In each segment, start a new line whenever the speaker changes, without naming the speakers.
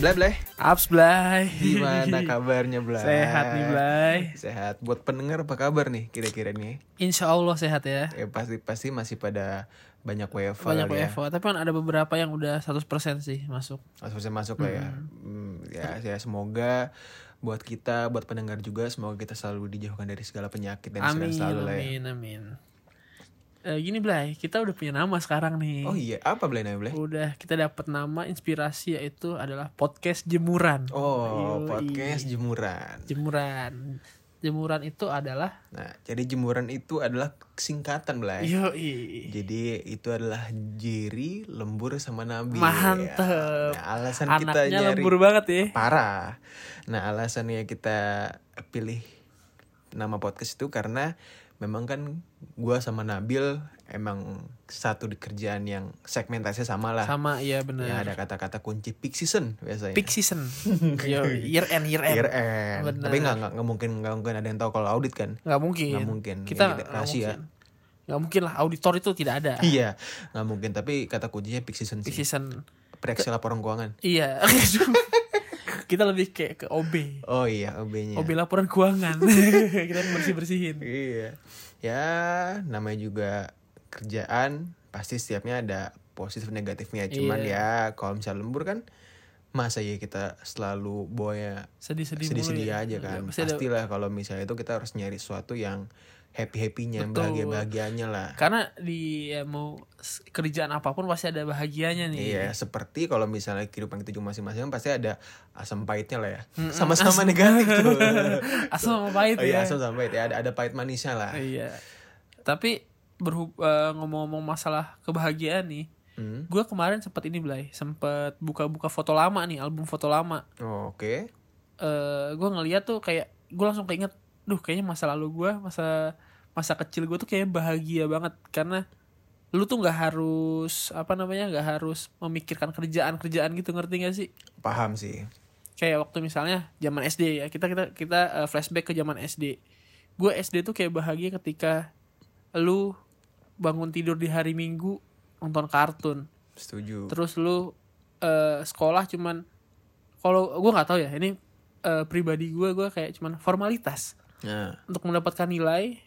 Bleh bleh,
Ups, Blay.
gimana kabarnya Bleh?
Sehat nih, Blay.
Sehat. Buat pendengar apa kabar nih kira-kira nih?
Insya Allah sehat ya.
Eh pasti pasti masih pada banyak WFH
Banyak
kali ya.
WFO, tapi kan ada beberapa yang udah 100% sih masuk.
Langsung bisa masuk lah ya. Hmm, ya, ya semoga buat kita, buat pendengar juga semoga kita selalu dijauhkan dari segala penyakit dan segala
Amin,
selalu lah ya.
amin, amin. Eh, gini Blay, kita udah punya nama sekarang nih.
Oh iya, apa Bleh namanya Bleh?
Udah kita dapat nama inspirasi yaitu adalah podcast jemuran.
Oh,
Yoi.
podcast jemuran.
Jemuran. Jemuran itu adalah
Nah, jadi jemuran itu adalah singkatan Bleh. Iya.
Yoi.
Jadi itu adalah Jerry lembur sama Nabi.
Mantep.
Nah, alasan kita
Anaknya
nyari
lembur banget ya.
parah. Nah, alasannya kita pilih nama podcast itu karena memang kan gua sama Nabil emang satu di kerjaan yang segmentasinya sama lah.
Sama iya
Ya
benar.
ada kata-kata kunci peak season biasanya.
Peak season. Yo, year end year end.
Year end.
Bener.
Tapi nggak nggak nggak mungkin nggak mungkin ada yang tahu kalau audit kan.
nggak mungkin
Nggak mungkin. Ya,
kita
kita
nggak
rahasia.
mungkin. nggak mungkin lah auditor itu tidak ada
Iya, nggak mungkin. Tapi kata kuncinya peak season
di
sih.
season
Periksa laporan keuangan.
iya kita lebih kayak ke OB
Oh iya, OB-nya.
OB laporan keuangan kita bersih bersihin
Iya. Ya, namanya juga kerjaan pasti setiapnya ada positif negatifnya. Cuman
Iya.
ya kalau misalnya lembur kan masa ya kita selalu bawa ya
sedih ya. Iya, sedih
sedih-sedih aja kan. Pastilah kalau misalnya itu kita harus nyari sesuatu yang happy-happynya, yang
Betul.
bahagia-bahagianya lah.
karena di ya, mau s- kerjaan apapun pasti ada bahagianya nih
Iya, seperti kalau misalnya kehidupan kita cuma masing-masing kan pasti ada asam pahitnya lah ya. Sama-sama negatif tuh.
asal mau
Oh
pahit ya
iya, asam sama pahit ya. Ada, ada pahit manisnya lah.
iya tapi berhub eh, ngomong-ngomong masalah kebahagiaan nih
Hmm.
gue kemarin sempat ini belai sempat buka-buka foto lama nih album foto lama
Oh, Oke.
eh gue ngeliat tuh kayak gue langsung keinget duh kayaknya masa lalu gue masa masa kecil gue tuh kayaknya bahagia banget karena lu tuh nggak harus apa namanya nggak harus memikirkan kerjaan kerjaan gitu ngerti gak sih
Paham sih.
kayak waktu misalnya zaman SD ya kita kita kita eh, flashback ke zaman SD gue SD tuh kayak bahagia ketika lu bangun tidur di hari Minggu nonton kartun
Setuju.
terus lu eh, sekolah cuman kalau gue nggak tahu ya ini eh, pribadi gue gue kayak cuman formalitas
Nah,
untuk mendapatkan nilai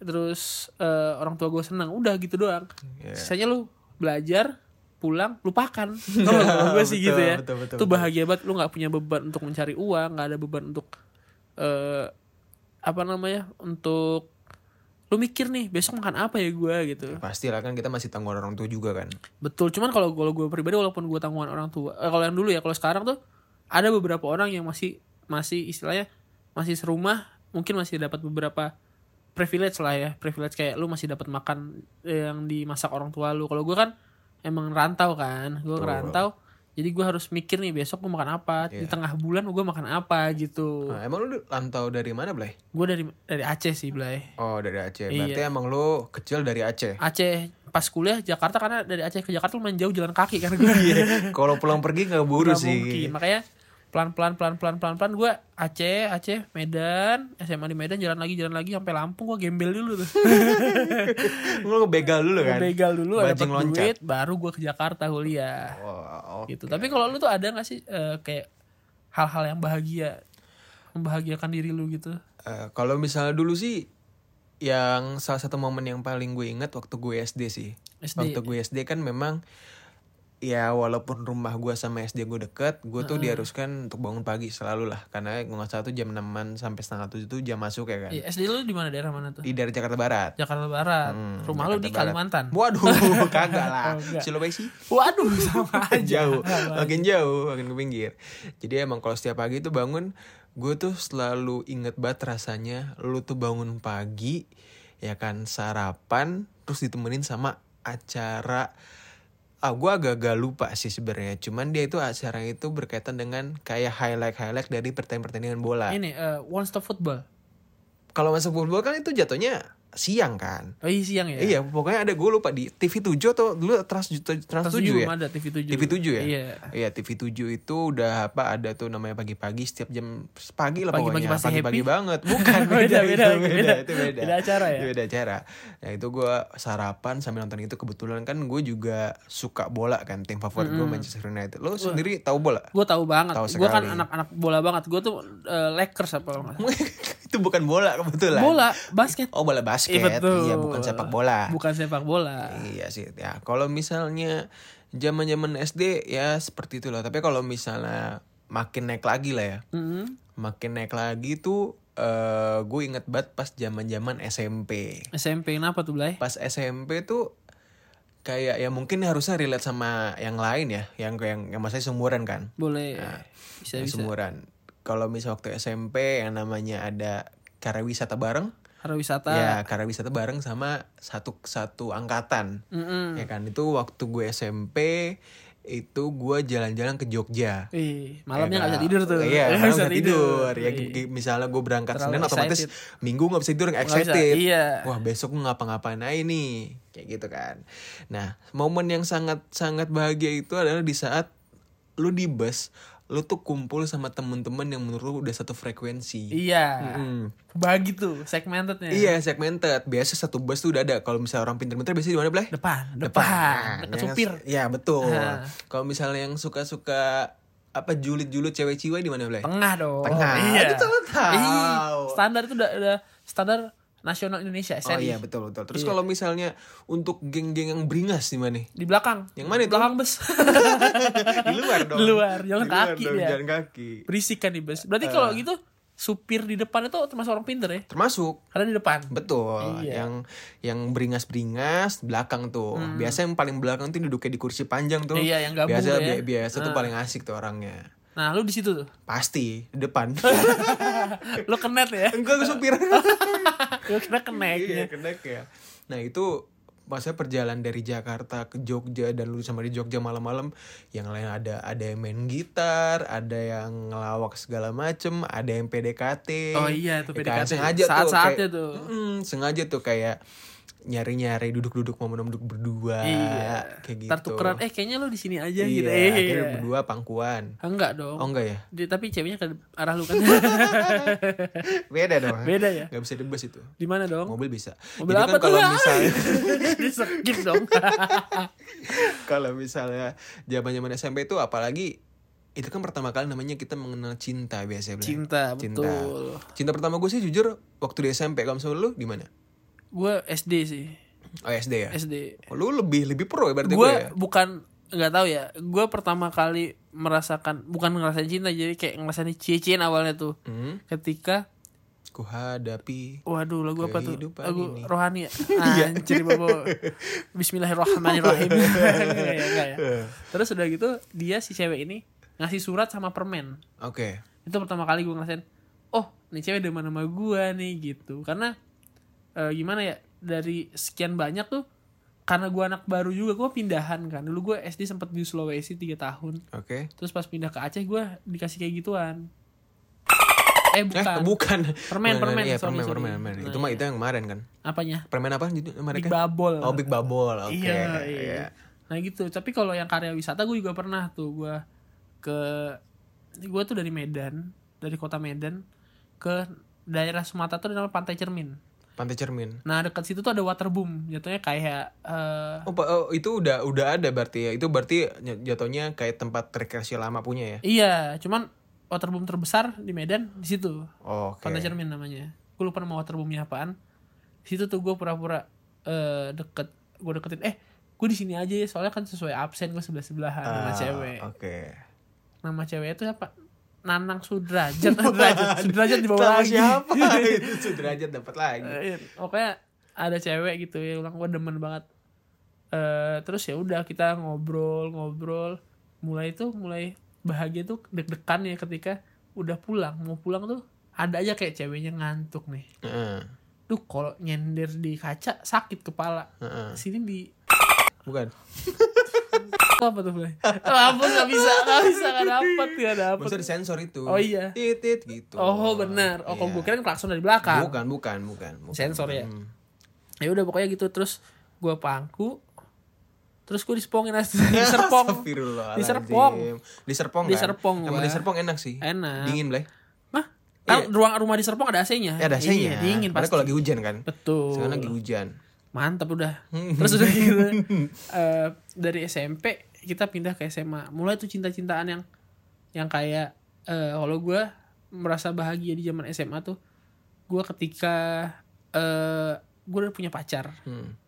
terus eh, orang tua gue senang udah gitu doang
ya.
sisanya lu belajar pulang lupakan kalau gue sih
Betul,
gitu ya
betul, betul,
tuh
betul.
bahagia banget lu nggak punya beban untuk mencari uang nggak ada beban untuk eh apa namanya untuk lu mikir nih besok makan apa ya gue gitu
Pastilah kan kita masih tanggung orang tua juga kan.
Betul, cuman kalau kalau gue pribadi walaupun gue tanggungan orang tua, eh, kalau yang dulu ya, kalau sekarang tuh ada beberapa orang yang masih masih istilahnya masih serumah, mungkin masih dapat beberapa privilege lah ya, privilege kayak lu masih dapat makan yang dimasak orang tua lu. Kalau gue kan emang rantau kan, gue
Betul.
rantau, jadi gue harus mikir nih besok gue makan apa, di
Iya.
tengah bulan gue makan apa gitu.
Nah, emang lu lantau dari mana, Blay?
Gue dari dari Aceh sih, Blay.
Oh, dari Aceh.
Iya.
Berarti emang lu kecil dari Aceh.
Aceh pas kuliah Jakarta karena dari Aceh ke Jakarta lumayan jauh jalan kaki kan gue.
Kalau pulang pergi nggak buru
Nggak mungkin.
sih.
Makanya pelan-pelan pelan-pelan pelan-pelan gue Aceh, Aceh, Medan, SMA di Medan jalan lagi jalan lagi sampai Lampung gue gembel dulu tuh.
Lu begal dulu kan.
Begal dulu ada
Bajing loncat.
duit baru gue ke Jakarta kuliah
Oh, oke.
gitu. Tapi kalau lu tuh ada gak sih eh, kayak hal-hal yang bahagia membahagiakan diri lu gitu?
Eh, kalau misalnya dulu sih yang salah satu momen yang paling gue inget waktu gue SD sih.
SD.
Waktu gue SD kan memang ya walaupun rumah gue sama SD gue deket, gue tuh diharuskan untuk bangun pagi selalu lah karena gue nggak salah tuh jam 6 sampai setengah tujuh tuh jam masuk ya kan.
Iya, SD lu di mana daerah mana tuh?
Di dari Jakarta Barat.
Jakarta Barat. Rumah lu
Hmm, Jakarta Barat.
di Kalimantan.
Waduh, kagak lah.
Oh, enggak.
Sulawesi
Waduh sama
Iya.
aja.
jauh, makin jauh, makin ke pinggir. Jadi emang kalau setiap pagi tuh bangun, gue tuh selalu inget banget rasanya lu tuh bangun pagi, ya kan sarapan, terus ditemenin sama acara Ah, gue agak-agak lupa sih sebenarnya. Cuman dia itu acara itu berkaitan dengan kayak highlight-highlight dari pertandingan pertandingan bola.
Ini eh, One Stop Football.
Kalau masuk football kan itu jatuhnya siang kan.
Oh iya siang ya.
Iya, pokoknya ada gue lupa di TV 7 atau dulu Trans Trans 7
Terus juga
ya.
belum ada TV 7.
TV 7 ya?
Iya.
Iya TV 7 itu udah apa ada tuh namanya pagi-pagi setiap jam pagi lah
Pagi-pagi
pokoknya
pasti
pagi-pagi
happy.
banget bukan beda
Beda,
beda
beda,
itu, beda,
beda.
itu beda
Beda acara ya?
Itu beda acara nah itu gue sarapan sambil nonton itu kebetulan kan gue juga suka bola kan tim favorit gue Manchester United lo sendiri tahu bola
Gue tahu banget.
Tahu
Gue kan
sekali.
anak-anak bola banget. Gue tuh eh, Lakers apa kalau nggak salah.
itu bukan bola kebetulan
Bola, basket.
oh bola basket
Iya, betul.
iya bukan sepak bola
Bukan sepak bola.
Iya sih ya. Kalau misalnya zaman-zaman SD ya seperti itulah. Tapi kalau misalnya makin naik lagi lah ya.
Mm-mm.
Makin naik lagi tuh eh gue inget banget pas zaman-zaman SMP.
SMP kenapa tuh Blay?
Pas SMP tuh kayak ya mungkin harusnya relate sama yang lain ya, yang yang, yang masanya seumuran kan.
Boleh. bisa
Yang
bisa.
seumuran. Kalau misal waktu SMP yang namanya ada karya wisata bareng,
Harus wisata.
ya karya wisata bareng sama satu satu angkatan
Mm-mm.
ya kan itu waktu gue SMP itu gue jalan-jalan ke Jogja
Ih,
Ya
malamnya nggak bisa
kan?
tidur tuh.
iya
Nggak
malam
bisa
nggak tidur, ya
Iya.
gi- misalnya gue berangkat
Terlalu
Senin otomatis minggu nggak bisa tidur nggak
Nggak bisa,
excited
Iya.
wah besok gue ngapa-ngapain aja nih kayak gitu kan nah momen yang sangat sangat bahagia itu adalah di saat lu di bus lu tuh kumpul sama temen-temen yang menurut lu udah satu frekuensi
Iya.
Mm.
Bagi tuh segmentednya.
Iya segmented. Biasa satu bus tuh udah ada. Kalau misalnya orang pinter-pinter biasanya di mana Blay?
Depan, depan, dekat
Yang-
supir.
Ya betul.
Ah.
Kalau misalnya yang suka-suka apa julid-julid cewek ciwa di mana Blay?
Tengah dong.
Tengah.
Iya.
Itu tahu tahu.
Ih, standar itu udah, udah standar nasional Indonesia.
Oh
SNI.
iya betul betul. Terus kalau misalnya untuk geng-geng yang beringas di mana?
Di belakang.
Yang mana itu?
Belakang bus.
di luar dong.
Di luar, jalan
Di luar
kaki
dong,
dia.
Jalan kaki.
Berisik kan di bus. Berarti kalau
Eh.
gitu supir di depan itu termasuk orang pinter ya?
Termasuk
Karena di depan.
Betul,
Iya. Hmm.
yang yang beringas-beringas belakang tuh. Biasa yang paling belakang tuh duduknya di kursi panjang tuh.
Iya, yang gabung
biasa
tuh ya.
bi- biasa tuh paling asik tuh orangnya.
Nah, lu di situ tuh.
Pasti di depan.
Lu kenet ya.
Enggak gue supir.
Lu kena
Iya,
keneknya.
kena ya. Nah, itu masa perjalanan dari Jakarta ke Jogja dan lu sama di Jogja malam-malam yang lain ada ada yang main gitar, ada yang ngelawak segala macem, ada yang PDKT.
Oh iya, tuh
Ya kan,
PDKT.
sengaja tuh,
Saat-saatnya
kayak-
tuh.
Mm, sengaja tuh kayak nyari-nyari duduk-duduk momen duduk berdua
Iya.
kayak gitu.
Ntar tukeran, eh kayaknya lu di sini aja
Iya,
gitu. Eh,
akhirnya
iya.
berdua pangkuan.
Enggak dong.
Oh enggak ya?
Dia- tapi ceweknya ke arah lu kan.
Beda dong.
Beda ya?
Gak bisa debas itu.
Di mana dong?
Mobil bisa.
Mobil
Jadi
apa
kan kalau
tuh?
misalnya
Di skip dong.
kalau misalnya zaman zaman SMP itu apalagi itu kan pertama kali namanya kita mengenal cinta biasanya Blan.
Cinta,
Cinta.
betul.
cinta pertama gue sih jujur waktu di SMP kalau misalnya lu di mana
Gue SD sih.
oh SD ya
SD.
Oh, lu lebih lebih pro ya berarti
gue
gue ya?
bukan nggak tahu ya gue pertama kali merasakan bukan ngerasain cinta jadi kayak ngerasain cie awalnya tuh
Hmm?
ketika
ku hadapi
waduh lagu apa tuh
Kehidupan
lagu
ini.
rohani ya? anjir bobo Bismillahirrahmanirrahim Enggak ya, enggak ya.
Iya.
terus udah gitu dia si cewek ini ngasih surat sama permen
oke
itu pertama kali gue ngerasain oh nih cewek demen sama gue nih gitu karena eh, gimana ya dari sekian banyak tuh karena gue anak baru juga gue pindahan kan dulu gue SD sempet di Sulawesi 3 tahun
oke
terus pas pindah ke Aceh gue dikasih kayak gituan
eh
eh bukan
bukan Nah, nah,
Permen, permen,
iya,
sorry,
permen,
sorry.
permen, permen.
Nah,
itu mah
iya.
itu yang kemarin kan
apanya
permen apa jadi
Big
mereka
Babol
oh big babol oke
iya, iya.
Iya.
nah gitu tapi kalau yang karya wisata gue juga pernah tuh gue ke gue tuh dari Medan dari kota Medan ke daerah Sumatera tuh ada namanya Pantai Cermin
pantai cermin
Nah dekat situ tuh ada waterboom jatuhnya kayak eh,
Oh, pa- oh, itu udah udah ada berarti ya. Itu berarti ny- jatuhnya kayak tempat rekreasi lama punya ya.
iya cuman waterboom terbesar di Medan di situ
Oke.
Pantai Cermin namanya. Gue lupa nama waterboomnya apaan. Di situ tuh gue pura-pura eh, deket gue deketin eh gue di sini aja ya soalnya kan sesuai absen gue sebelah sebelahan sama
Ah,
cewek.
Oke.
Nama cewek itu apa? Nanang Sudrajat, Sudrajat, Sudrajat di bawah
Sama
lagi.
siapa? itu sudrajat dapat lagi.
Eh, iya. Pokoknya ada cewek gitu ya ulang gue demen banget eh terus ya udah kita ngobrol ngobrol mulai tuh mulai bahagia tuh deg-degan ya ketika udah pulang mau pulang tuh ada aja kayak ceweknya ngantuk nih
Heeh,
tuh kalau nyender di kaca sakit kepala
heeh.
sini di
Bukan.
Itu apa tuh Blay? Apa nggak bisa nggak bisa nggak dapet nggak dapet
Maksudnya di sensor itu.
Oh, iya.
Titit gitu.
oh benar oh kok
Iya.
gue kira klakson dari belakang
Bukan, bukan, bukan. bukan.
sensor ya
Hmm.
ya udah pokoknya gitu terus gua pangku terus gue disepongin as- di serpong
Astagfirullahaladzim.
Di Serpong.
Di Serpong
Di
kan?
Serpong
Emang
gua.
di Serpong enak sih.
Enak.
Dingin, Bleh.
mah
Iya.
kan ruang rumah di serpong ada AC-nya
Ya ada
Iya,
AC-nya.
dingin
Padahal
pasti
kalau lagi hujan kan.
betul
Sekarang lagi hujan.
mantap udah terus udah gitu eh, dari SMP kita pindah ke SMA mulai tuh cinta-cintaan yang yang kayak eh kalau gue merasa bahagia di zaman SMA tuh gue ketika eh gue udah punya pacar
Hmm.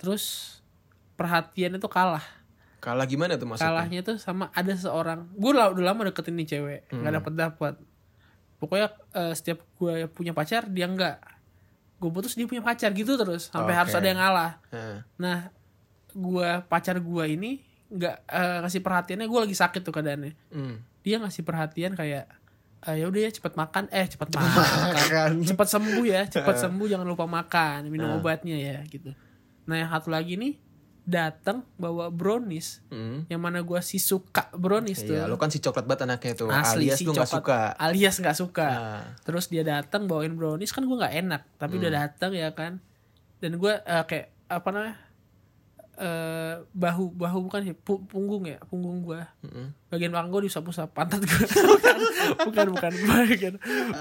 terus perhatiannya tuh kalah
Kalah gimana tuh maksudnya?
kalahnya tuh sama ada seorang gue udah lama deketin nih cewek nggak
Hmm.
dapat dapat pokoknya eh, setiap gue punya pacar dia nggak gue putus dia punya pacar gitu terus sampai harus
Oke.
ada yang ngalah
Nah,
Nah, gua pacar gua ini nggak eh, ngasih perhatiannya gua lagi sakit tuh keadaannya.
hmm.
Dia ngasih perhatian kayak eh, ya udah ya cepat makan, eh cepat makan. Cepat sembuh ya, cepat
Eh.
sembuh jangan lupa makan, minum obatnya ya gitu. Nah, yang satu lagi nih datang bawa brownies
Hmm.
yang mana gua si suka brownies tuh.
Iya, lu kan si coklat banget anaknya tuh.
Asli
alias
si
lu nggak
coklat.
suka.
Ah. Alias nggak suka.
Nah.
Terus dia datang bawain brownies kan gua nggak enak, tapi udah
Hmm.
datang ya kan. Dan gua eh, kayak apa namanya? eh bahu bahu bukan sih, pu- punggung ya, punggung gua.
Mm-mm.
Bagian belakang gua diusap-usap pantat gua. bukan, bukan, bukan, bukan.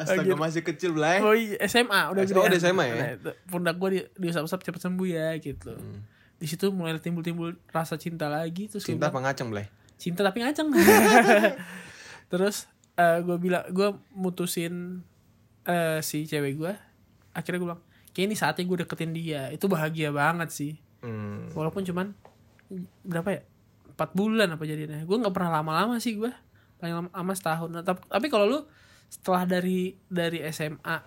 Astaga eh. masih kecil Bleh.
Oh iya, SMA udah
Oh, udah SMA ya?
Nah, itu, pundak gua di, diusap-usap cepet sembuh ya gitu.
Hmm.
Di situ mulai timbul-timbul rasa cinta lagi terus gua
Cinta apa ngaceng Bleh?
cinta tapi ngaceng terus eh, gue bilang gue mutusin eh, si cewek gue akhirnya gue bilang kayak ini saatnya gue deketin dia itu bahagia banget sih
Hmm.
walaupun cuman berapa ya empat bulan apa jadinya gue nggak pernah lama-lama sih gue paling lama, lama setahun Nah, tapi, tapi kalau lu setelah dari dari SMA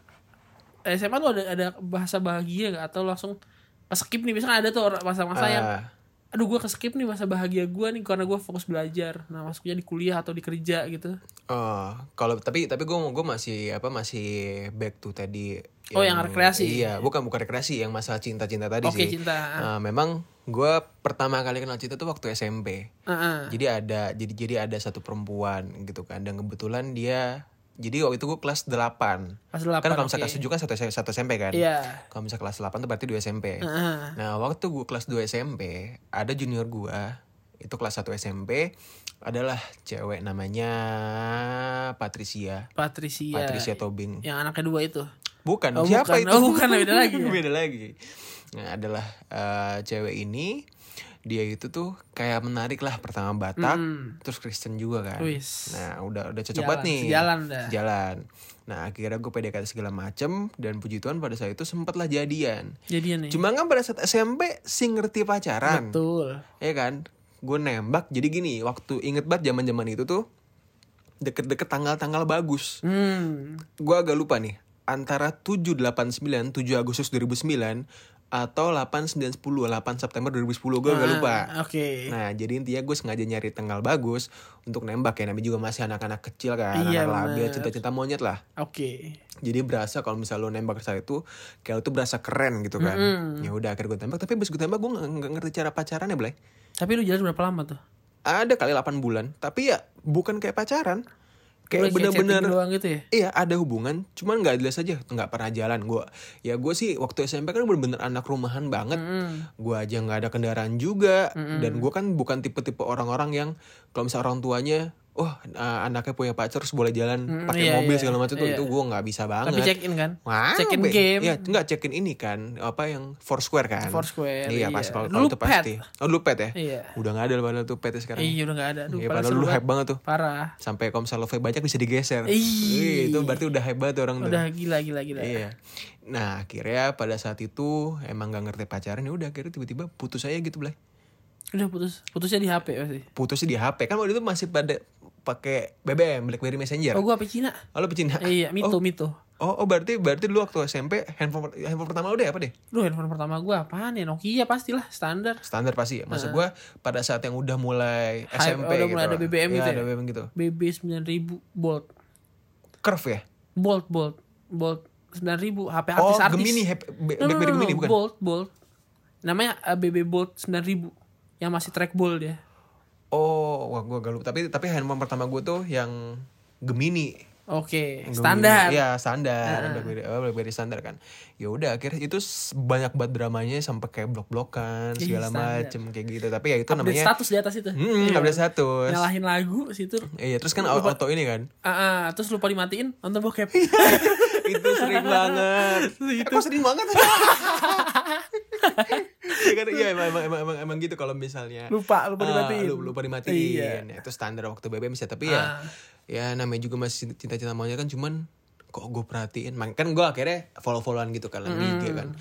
eh, SMA tuh ada ada bahasa bahagia gak? atau langsung skip nih misalkan ada tuh orang- masa-masa yang
Ah,
aduh gue keskip nih masa bahagia gue nih karena gue fokus belajar nah masuknya di kuliah atau di kerja gitu
oh, kalau tapi tapi gue gue masih apa masih back to tadi.
Oh, yang rekreasi.
Iya, bukan bukan rekreasi yang masalah cinta-cinta tadi
oke
sih.
cinta Ah.
Nah, memang gue pertama kali kenal cinta tuh waktu SMP.
Heeh.
Jadi ada jadi jadi ada satu perempuan gitu kan dan kebetulan dia jadi waktu itu gue kelas 8.
pas delapan
Kan kalau
oke.
misalnya kelas 7 kan satu, S- satu SMP kan?
iya
Kalau misalnya kelas 8 tuh berarti 2 SMP.
Heeh.
Nah, waktu gue kelas 2 SMP, ada junior gua itu kelas 1 SMP adalah cewek namanya Patricia.
Patricia
Patricia Tobing.
yang anaknya dua itu
Bukan,
Iya. Oh,
siapa
bukan.
itu?
Oh, bukan, beda lagi ya?
beda lagi. Nah, adalah eh, cewek ini dia itu tuh kayak menarik lah pertama Batak, terus Kristen juga kan.
Hmm. Wis.
Nah, udah udah cocok
Sejalan,
banget nih.
sejalan dah.
Sejalan. Nah, akhirnya gue PDKT segala macem dan puji Tuhan pada saat itu sempatlah jadian.
jadian nih
Cuma kan pada saat SMP sih ngerti pacaran.
Iya. betul
Ya kan? Gue nembak. Jadi gini, waktu inget banget zaman-zaman itu tuh deket-deket tanggal-tanggal bagus.
hmm
Gue agak lupa nih. Antara 789, 7 Agustus 2009 atau 8 9 10 8 September 2010 gue agak lupa.
Ah, oke
Nah, jadi intinya gue sengaja nyari tanggal bagus untuk nembak ya. Namanya juga masih anak-anak kecil kan,
Iya,
anak labil,
bener.
cinta-cinta monyet lah
oke
jadi berasa kalau misalnya lo nembak saat itu kayak lo tuh berasa keren gitu kan ya udah akhirnya gue tembak tapi abis gue tembak gue nggak nggak ngerti cara pacaran ya Blay
tapi lu jalan berapa lama tuh
ada kali 8 bulan tapi ya bukan kayak pacaran
Lu
kayak
chatting
bener-bener
doang gitu ya
Iya ada hubungan, cuman nggak jelas aja, nggak pernah jalan. Gua, ya gue sih waktu SMP kan bener-bener anak rumahan banget. Gua aja nggak ada kendaraan juga, dan gue kan bukan tipe-tipe orang-orang yang kalau misalnya orang tuanya, wah eh, anaknya punya pacar terus boleh jalan pakai
iya,
mobil
iya,
segala macam tuh
iya.
itu gue nggak bisa banget.
tapi check in kan
Wah,
check in
be-
game
Iya, enggak check in ini kan, apa yang Foursquare kan?
Foursquare,
Iya, pas
iya.
kalau
Dulu
kalau itu
pet.
pasti. Oh, dulu pet ya?
iya
Udah enggak ada padahal tuh pet ya sekarang.
iya udah nggak ada Duh,
Iya,
padahal
padahal
seru
dulu
banget.
hype banget tuh.
parah
Sampai komsel lo banyak bisa digeser.
Ih.
Ih, itu berarti udah hype banget orang tuh.
udah gila gila gila
Iya. Nah, akhirnya pada saat itu emang gak ngerti pacaran ya udah akhirnya tiba-tiba putus aja gitu, Blay.
udah putus putusnya di HP pasti
Putusnya di HP. Kan waktu itu masih pada pakai BBM, BlackBerry
oh
Messenger.
gua apa Cina
Oh, lo pecina.
iya mito mito
Oh, oh, berarti berarti dulu waktu SMP handphone handphone pertama udah ya, apa deh?
Duh handphone pertama gue apaan ya Nokia pastilah standar
standar pasti ya. Maksud gua pada saat yang udah mulai
Hype,
SMP
udah
gitu.
mulai ada
lah.
BBM
Iya,
gitu ya?
ada BBM gitu.
BB 9000 Bolt
Curve ya?
Bolt Bolt Bolt 9000 HP
oh,
artis artis
Gemini, hep- Be-
no, no,
BlackBerry
no, no,
Gemini bukan?
Bolt Bolt namanya eh, BB Bolt 9000 yang masih ya. trackball dia
Oh, wah gua galup. Tapi tapi handphone pertama gua tuh yang Gemini.
Oke,
Nungguin-
standar.
Iya standar BlackBerry, oh, BlackBerry standar kan ya udah akhirnya itu s- banyak banget dramanya sampai kayak blok-blokan
Ih,
segala
standar.
macem kayak gitu tapi ya itu
Update
namanya
status di atas itu.
Hmm,
Iya.
update status.
Nyalahin lagu situ.
iya terus kan auto ini kan
Ah, ah, terus lupa dimatiin nonton bokep.
itu sering banget itu sering banget ya kan iya emang emang emang, emang gitu kalau misalnya
lupa, lupa
Ah,
dimatiin. Iya.
lu- lupa dimatiin Ya, itu standar waktu BBM sih tapi ya
Ah.
ya namanya juga masih cinta-cinta maunya kan cuman kok gue perhatiin Mak- kan gue akhirnya follow-followan gitu kan di IG kan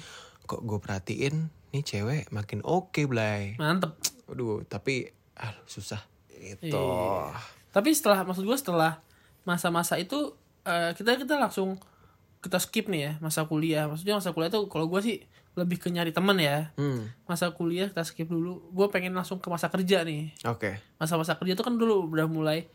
kok gue perhatiin nih cewek makin oke Blay
Mantep.
aduh tapi ah susah Gitu. itu
Iya. Tapi setelah maksud gue setelah masa-masa itu eh, kita kita langsung kita skip nih ya masa kuliah. Maksudnya masa kuliah tuh kalau gue sih lebih ke nyari temen ya.
hmm
Masa kuliah kita skip dulu. Gue pengen langsung ke masa kerja nih.
oke
Masa-masa kerja tuh kan dulu udah mulai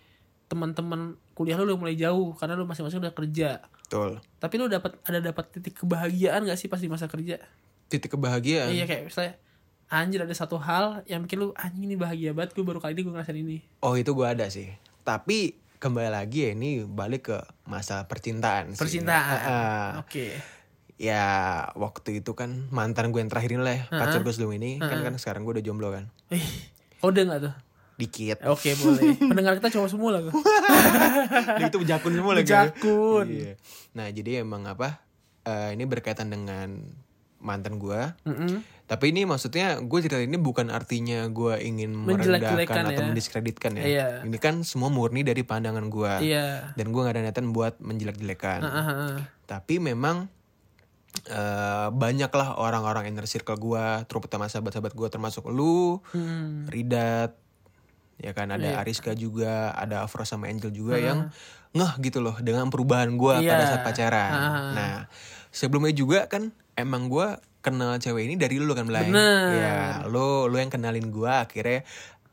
teman-teman kuliah lu udah mulai jauh karena lu masing-masing udah kerja.
betul
Tapi lu dapat ada dapat titik kebahagiaan gak sih pas di masa kerja?
titik kebahagiaan
Iya kayak misalnya anjir ada satu hal yang bikin lu anjing ini bahagia banget gue baru kali ini gue ngerasain ini.
Oh itu gue ada sih. Tapi kembali lagi ya ini balik ke masa percintaan. sih.
Percintaan.
Ah, ah.
Oke.
ya waktu itu kan mantan gue yang terakhir ini lah, ya, pacar gue sebelum ini kan kan sekarang gue udah jomblo kan.
Ih, kode gak tuh?
Dikit.
Oke boleh. Pendengar kita cowok semua lah. Kak.
itu jakun semua lagi.
Jakun.
Iya. Nah jadi emang apa? eh, ini berkaitan dengan mantan gue.
Mm-mm.
Tapi ini maksudnya gue cerita ini bukan artinya gue ingin
Menjelek-jelekan
merendahkan atau
ya.
mendiskreditkan ya.
Iya.
Ini kan semua murni dari pandangan gue.
Iya.
Dan gue gak ada niatan buat menjelek-jelekan.
Ah, ah, ah.
tapi memang eh, banyaklah orang-orang inner circle gua terutama sahabat-sahabat gua termasuk lu
Hmm. Iya.
Ridat ya kan ada Ariska juga ada Afro sama Angel juga yang ngeh gitu loh dengan perubahan gua
Iya.
pada saat pacaran
Ah.
nah sebelumnya juga kan emang gua kenal cewek ini dari lu kan Blay
Bener.
ya lu lu yang kenalin gua akhirnya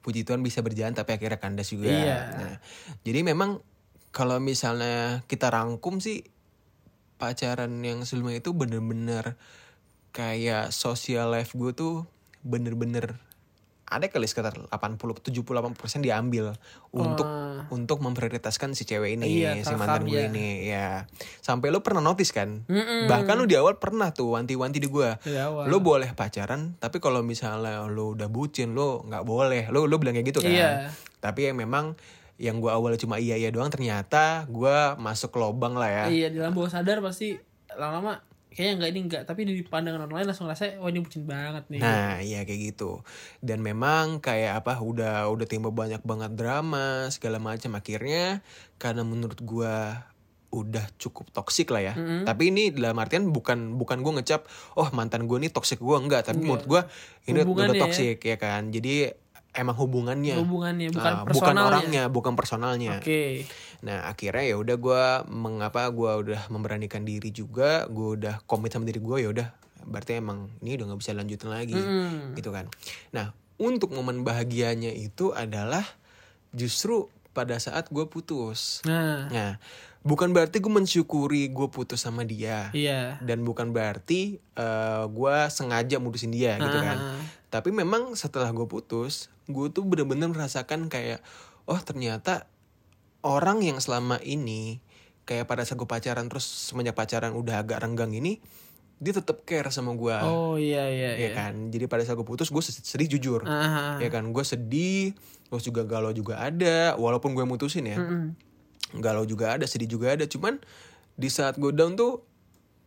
puji Tuhan bisa berjalan tapi akhirnya kandas juga
Iya.
Nah, jadi memang kalau misalnya kita rangkum sih pacaran yang sebelumnya itu bener-bener kayak social life gue tuh bener-bener ada kali sekitar 80 70 80% diambil untuk
Wah.
untuk memprioritaskan si cewek ini
Iya,
si mantan
paham,
gue
iya.
ini ya sampai lo pernah notice kan
Mm-mm.
bahkan lo di awal pernah tuh wanti-wanti di gue
Dari awal.
lo boleh pacaran tapi kalau misalnya lo udah bucin lo nggak boleh lo lo bilang kayak gitu kan
Iya.
tapi yang memang yang gue awalnya cuma iya iya doang ternyata gue masuk ke lobang lah ya
Iya dalam bawah sadar pasti lama-lama kayaknya enggak ini enggak tapi di pandangan orang lain langsung ngerasa wah ini bucin banget nih.
Nah, iya kayak gitu. Dan memang kayak apa udah udah timbul banyak banget drama segala macam akhirnya karena menurut gua udah cukup toksik lah ya. Tapi ini dalam artian bukan bukan gua ngecap oh mantan gua nih toksik gua enggak, tapi menurut gua ini udah
Iya. Hubungannya ya.
toksik ya kan. Jadi emang hubungannya
Hubungannya bukan
iya. Ah, bukan
personalnya.
orangnya, iya. bukan personalnya.
Oke.
Nah akhirnya ya udah gue mengapa gue udah memberanikan diri juga, gue udah komit sama diri gue ya udah, berarti emang ini udah nggak bisa lanjutin lagi,
Mm.
gitu kan. Nah untuk momen bahagianya itu adalah justru pada saat gue putus.
Nah,
Nah bukan berarti gue mensyukuri gue putus sama dia,
iya.
dan bukan berarti eh, gue sengaja mutusin dia, gitu kan.
Ah,
Tapi memang setelah gue putus, gue tuh bener-bener merasakan kayak, oh ternyata orang yang selama ini kayak pada saat gue pacaran terus semenjak pacaran udah agak renggang ini, dia tetap care sama gue,
Oh iya iya
ya
iya.
Ah. kan? Jadi pada saat gue putus, gue sedih jujur,
Ah, ah, ah.
ya kan? Gue sedih, terus juga galau juga ada, walaupun gue mutusin ya,
Mm-mm.
galau juga ada, sedih juga ada, cuman di saat gue down tuh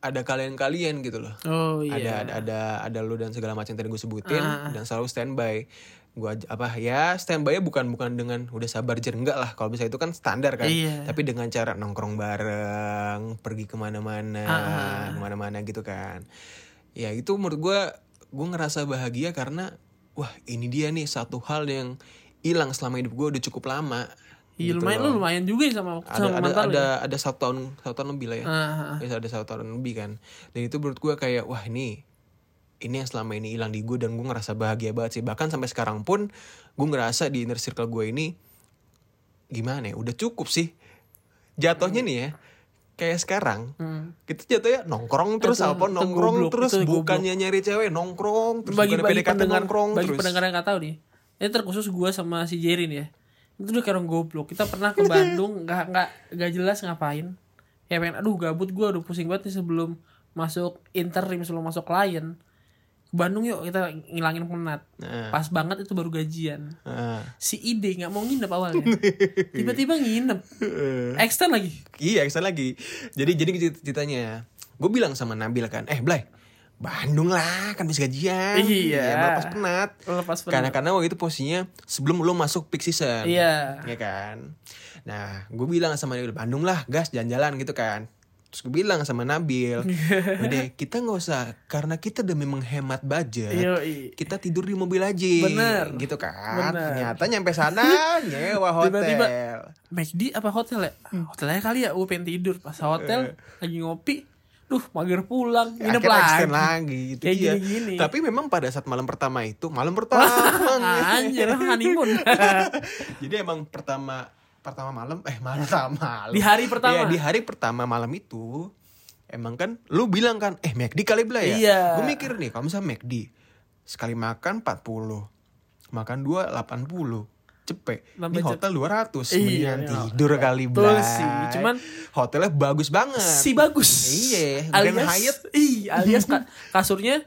ada kalian-kalian gitu loh
Oh iya. Ah.
ada ada ada ada lu dan segala macam yang tadi gue sebutin dan selalu standby gue apa ya standby bukan bukan dengan udah sabar jer enggak lah kalau misalnya itu kan standar kan
Iya.
tapi dengan cara nongkrong bareng pergi kemana-mana
Ah,
kemana-mana gitu kan ya itu menurut gue gue ngerasa bahagia karena wah ini dia nih satu hal yang hilang selama hidup gue udah cukup lama
Iya
Gitu
lumayan
loh.
lu lumayan juga ya sama
ada
sama
ada
mantan lu
ada,
ya.
ada satu tahun satu tahun lebih lah ya
Ah, ah.
Ya, ada satu tahun lebih kan dan itu menurut gue kayak wah ini ini yang selama ini hilang di gue dan gue ngerasa bahagia banget sih bahkan sampai sekarang pun gue ngerasa di inner circle gue ini gimana ya udah cukup sih jatuhnya nih ya kayak sekarang
Hmm.
kita jatuhnya nongkrong terus
Itu-
apa
itu
nongkrong
goblok,
terus
itu goblok.
bukannya nyari cewek nongkrong terus
bagi
bukannya
bagi
PDKT
pendengar
nongkrong
bagi
terus
pendengar yang nggak tahu nih ini terkhusus gue sama si Jerin ya itu udah kayak orang goblok kita pernah ke Bandung nggak nggak nggak jelas ngapain ya pengen aduh gabut gue udah pusing banget nih sebelum masuk interim sebelum masuk klien ke Bandung yuk kita ngilangin penat
Nah,
pas banget itu baru gajian
ah.
si ide nggak mau nginep awalnya tiba-tiba nginep extend lagi
Iya, ekstra lagi. Jadi jadi gitu ceritanya. Gue bilang sama Nabil kan, "Eh, Blay, Bandung lah, kan bisa gajian."
Iya.
Ya, melepas penat.
lepas
Karena
penat
karena waktu itu posisinya sebelum lo masuk peak season.
iya
Ya kan. Nah, gue bilang sama Nabil, "Bandung lah, gas jalan-jalan gitu kan." Terus gue bilang sama Nabil, "Udah, kita nggak usah karena kita demi menghemat budget."
Yoi.
Kita tidur di mobil aja
Bener.
Gitu kan
Bener.
Ternyata nyampe sana Nyewa hotel
Tiba-tiba, McD apa hotel ya?
Hmm.
Ah, Hotelnya kali ya, gue pengen tidur pas hotel lagi ngopi. Duh, mager pulang,
Eh.
nginep
Akhirnya
lagi.
extend lagi gitu
Kayak
iya.
gini-gini.
Tapi memang pada saat malam pertama itu malam pertama.
Anjir, honeymoon.
Jadi emang pertama pertama malam eh malam pertama malam.
Di hari pertama.
Iya, di hari pertama malam itu emang kan lu bilang kan eh McD kali belah ya.
Iya.
Gue mikir nih kalau misalnya McD sekali makan 40 makan dua 80 cepet
Tambah
ini hotel 200
Iya,
mendingan
iya.
tidur kali Blay.
Betul sih, cuman-
hotelnya bagus banget
si bagus.
Iya, Grand
alias
Hyatt.
Iya, alias ka- kasurnya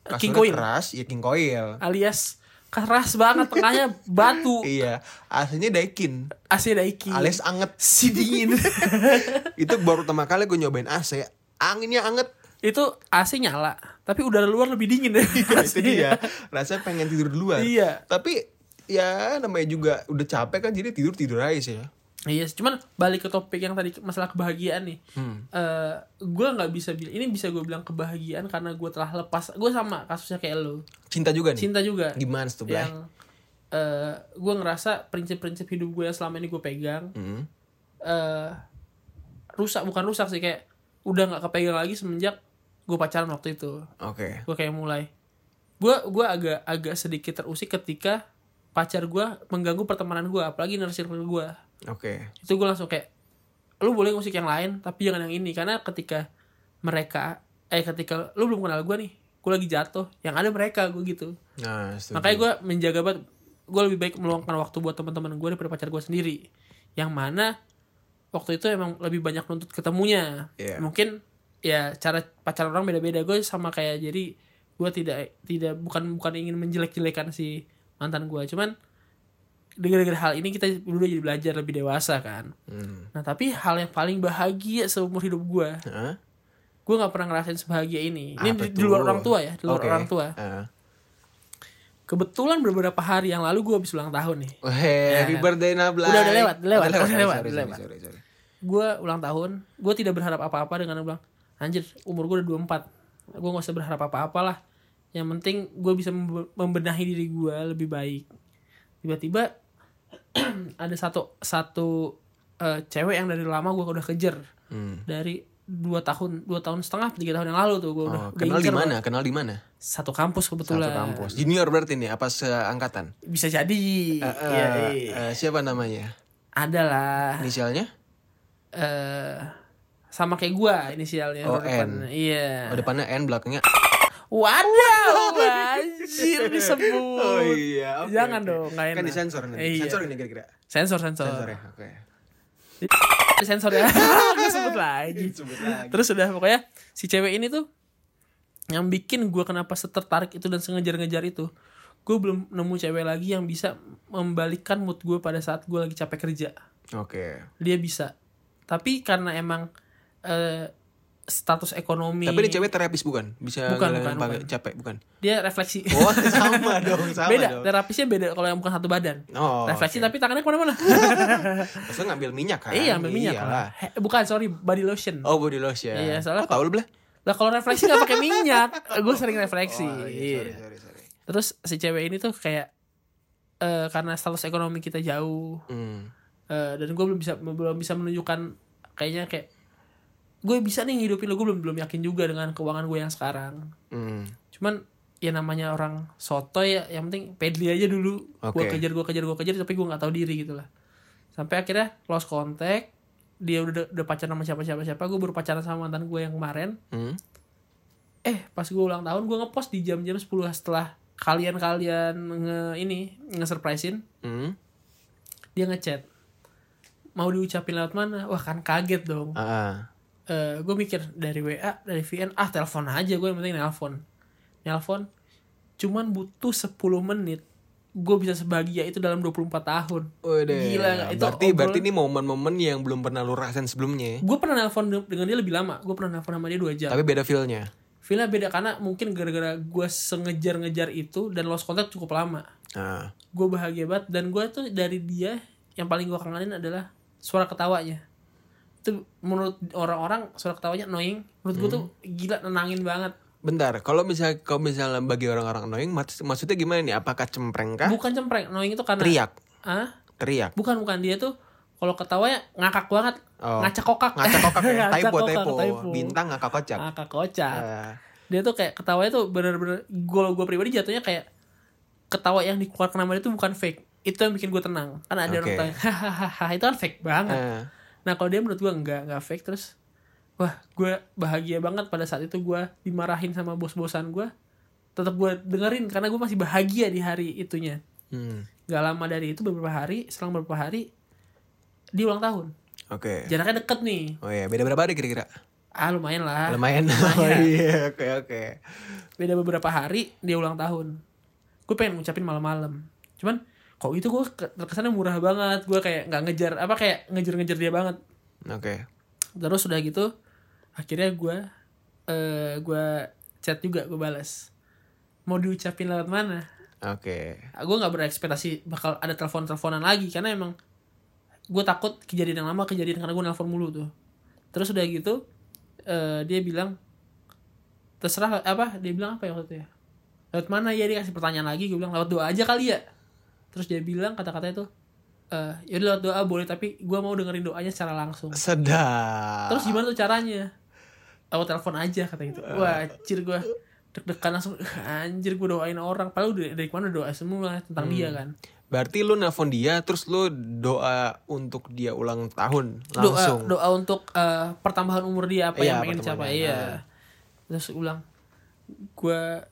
Kasurnya
king coin.
keras ya king coil
Alias keras banget tengahnya batu.
Iya, aslinya Daikin,
AC Daiki.
alias anget.
Iya. si dingin.
Itu baru pertama kali gue nyobain AC, anginnya anget.
Itu AC nyala, tapi udara luar lebih dingin ya.
Itu dia, rasanya pengen tidur duluan.
Iya.
Tapi ya namanya juga udah capek kan jadi tidur tidur aja sih ya.
Iya, sih. cuman balik ke topik yang tadi masalah kebahagiaan nih. Eh, gue nggak bisa bilang ini bisa gue bilang kebahagiaan karena gue telah lepas. Gue sama kasusnya kayak lo,
Cinta juga nih.
cinta juga.
Gimana tuh, Blay?
yang eh gue ngerasa prinsip-prinsip hidup gue yang selama ini gue pegang
Hmm.
eh rusak bukan rusak sih kayak udah nggak kepegang lagi semenjak gue pacaran waktu itu.
Oke.
Gue kayak mulai gue gue agak agak sedikit terusik ketika pacar gue mengganggu pertemanan gue apalagi inner circle gue
Oke.
itu gue langsung kayak lu boleh musik yang lain tapi jangan yang ini karena ketika mereka eh ketika lu belum kenal gue nih gue lagi jatuh yang ada mereka gue gitu
Nah, setuju.
makanya gue menjaga banget gue lebih baik meluangkan waktu buat teman-teman gue daripada pacar gue sendiri yang mana waktu itu emang lebih banyak nuntut ketemunya
Iya.
mungkin ya cara pacar orang beda-beda gue sama kayak jadi gue tidak tidak bukan bukan ingin menjelek-jelekan si mantan gue cuman dengan hal ini kita dulu jadi belajar lebih dewasa kan
Hmm.
Nah tapi hal yang paling bahagia seumur hidup gue
Hah?
Gue gak pernah ngerasain sebahagia ini Ini
Apa
di, di luar
tuh?
orang tua ya Di luar
Oke.
orang tua
Ah.
Kebetulan beberapa hari yang lalu gue habis ulang tahun nih
Happy
kan?
birthday Nablay.
Udah, udah lewat, udah lewat, udah lewat,
sorry,
udah
sorry,
lewat.
sorry, sorry.
Gue ulang tahun Gue tidak berharap apa-apa dengan bilang Anjir umur gue udah 24 Gue gak usah berharap apa-apalah Yang penting gue bisa membe- membenahi diri gue lebih baik Tiba-tiba Ada satu Satu eh, Cewek yang dari lama gue udah kejar
Hmm.
Dari dua tahun dua tahun setengah tiga tahun yang lalu tuh gue
Oh,
udah
kenal di
incer
mana? Kenal di mana?
satu kampus kebetulan
Satu kampus. Junior berarti nih apa seangkatan?
bisa jadi Iya,
Eh,
iya.
eh, siapa namanya?
ada lah
Inisialnya?
eh sama kayak gua inisialnya
Oh,
depan.
N.
iya
Oh, depannya N belakangnya.
waduh anjir disebut
iya. oke,
jangan
oke.
dong nggak
Kan
enak.
disensor nanti.
Iya.
Sensor ini kira-kira.
sensor sensor
Sensor ya. Oke.
sensor ya Gua sebut lagi
Sebut lagi.
terus udah pokoknya si cewek ini tuh yang bikin gua kenapa setertarik itu dan sengejar-ngejar itu gue belum nemu cewek lagi yang bisa membalikkan mood gue pada saat gue lagi capek kerja
Oke.
dia bisa tapi karena emang eh, status ekonomi
Tapi ini cewek terapis bukan? Bisa
Bukan,
ngelawan
bukan,
pakai
bukan.
capek bukan?
dia refleksi
Oh, sama dong, sama
beda
dong.
terapisnya beda kalau yang bukan satu badan
Oh,
refleksi tapi tangannya kemana-mana
Maksudnya ngambil minyak kan?
iya ambil minyak
Iyalah.
lah He- bukan sorry body lotion
Oh, body lotion.
Iya, soalnya
Kok tahu lu belah?
lah kalau refleksi nggak pakai minyak gue sering refleksi
Oh,
iya.
sorry, sorry, sorry.
terus si cewek ini tuh kayak eh, karena status ekonomi kita jauh
Hmm.
eh, dan gue belum bisa belum bisa menunjukkan kayaknya kayak gue bisa nih ngidupin lo gue belum belum yakin juga dengan keuangan gue yang sekarang
Hmm.
cuman ya namanya orang soto ya yang penting pedli aja dulu gua
Oke.
kejar gua kejar gua kejar tapi gua nggak tahu diri gitu lah sampai akhirnya lost contact dia udah udah pacaran sama siapa siapa siapa gue baru pacaran sama mantan gue yang kemarin
Hmm.
eh pas gue ulang tahun gue ngepost di jam-jam 10 setelah kalian kalian nge ini nge surprisein
Hmm.
dia ngechat mau diucapin lewat mana wah kan kaget dong
Ah,
Eh gue mikir dari WA dari VN ah telepon aja gue yang penting nelpon nelpon cuman butuh 10 menit gue bisa sebahagia itu dalam 24 tahun
Udah.
Gila,
berarti
itu obrolan-
berarti ini momen-momen yang belum pernah lu rasain sebelumnya. ya?
gue pernah nelpon de- dengan dia lebih lama gue pernah nelpon sama dia dua jam
Tapi beda feel-nya.
Feelnya beda karena mungkin gara-gara gue sengejar-ngejar itu dan lost contact cukup lama
Ah,
gue bahagia banget dan gue tuh dari dia yang paling gue kangenin adalah suara ketawanya itu menurut orang-orang suara ketawanya annoying menurut gue tuh gila nenangin banget
bentar. Kalau misal kalau misalnya bagi orang-orang annoying mak- maksudnya gimana nih? Apakah cempreng kah?
bukan cempreng annoying itu karena
Teriak,
ah
teriak.
bukan bukan dia tuh kalau ketawanya ngakak banget
Oh.
ngacak kokak
Ngaca kokak ya.
Ngacak
Typo,
kokak,
typo.
typo.
Bintang ngakak kocak.
ngakak kocak
Ah,
dia tuh kayak ketawanya tuh bener-bener kalau gue pribadi jatuhnya kayak ketawa yang dikeluarkan sama dia tuh bukan fake itu yang bikin gue tenang kan ada orang
Oke.
tanya hahaha itu kan fake banget
ah.
nah kalau dia menurut gue enggak enggak fake terus wah gue bahagia banget pada saat itu gue dimarahin sama bos-bosan gue tetap gue dengerin karena gue masih bahagia di hari itunya
Hmm.
gak lama dari itu beberapa hari selang beberapa hari dia ulang tahun
Oke.
jaraknya deket nih
Oh iya, beda berapa hari kira-kira?
ah lumayan lah
Lumayan. Oh iya, oke oke.
beda beberapa hari dia ulang tahun gue pengen ngucapin malam-malam cuman kok gitu gue ke- terkesannya murah banget gue kayak nggak ngejar apa kayak ngejar-ngejar dia banget
Oke.
terus udah gitu akhirnya gue eh gue chat juga gue balas mau diucapin lewat mana
Oke.
gue nggak berekspektasi bakal ada telepon-teleponan lagi karena emang gue takut kejadian yang lama kejadian karena gue nelfon mulu tuh terus udah gitu eh, dia bilang terserah apa dia bilang apa ya waktu itu ya lewat mana ya dia kasih pertanyaan lagi gue bilang lewat doa aja kali ya terus dia bilang kata-kata itu eh yaudah lewat doa boleh tapi gue mau dengerin doanya secara langsung
Sedap.
terus gimana tuh caranya lewat telepon aja kata gitu
Ah.
wah anjir gue deg-degan langsung "Ah, anjir gue doain orang padahal udah dari mana doa semua tentang dia
Hmm,
kan
Berarti lu nelfon dia terus lu doa untuk dia ulang tahun
doa
langsung.
doa untuk eh, pertambahan umur dia apa
Iya,
yang pengen
pertambahan,
capai iya terus ulang gua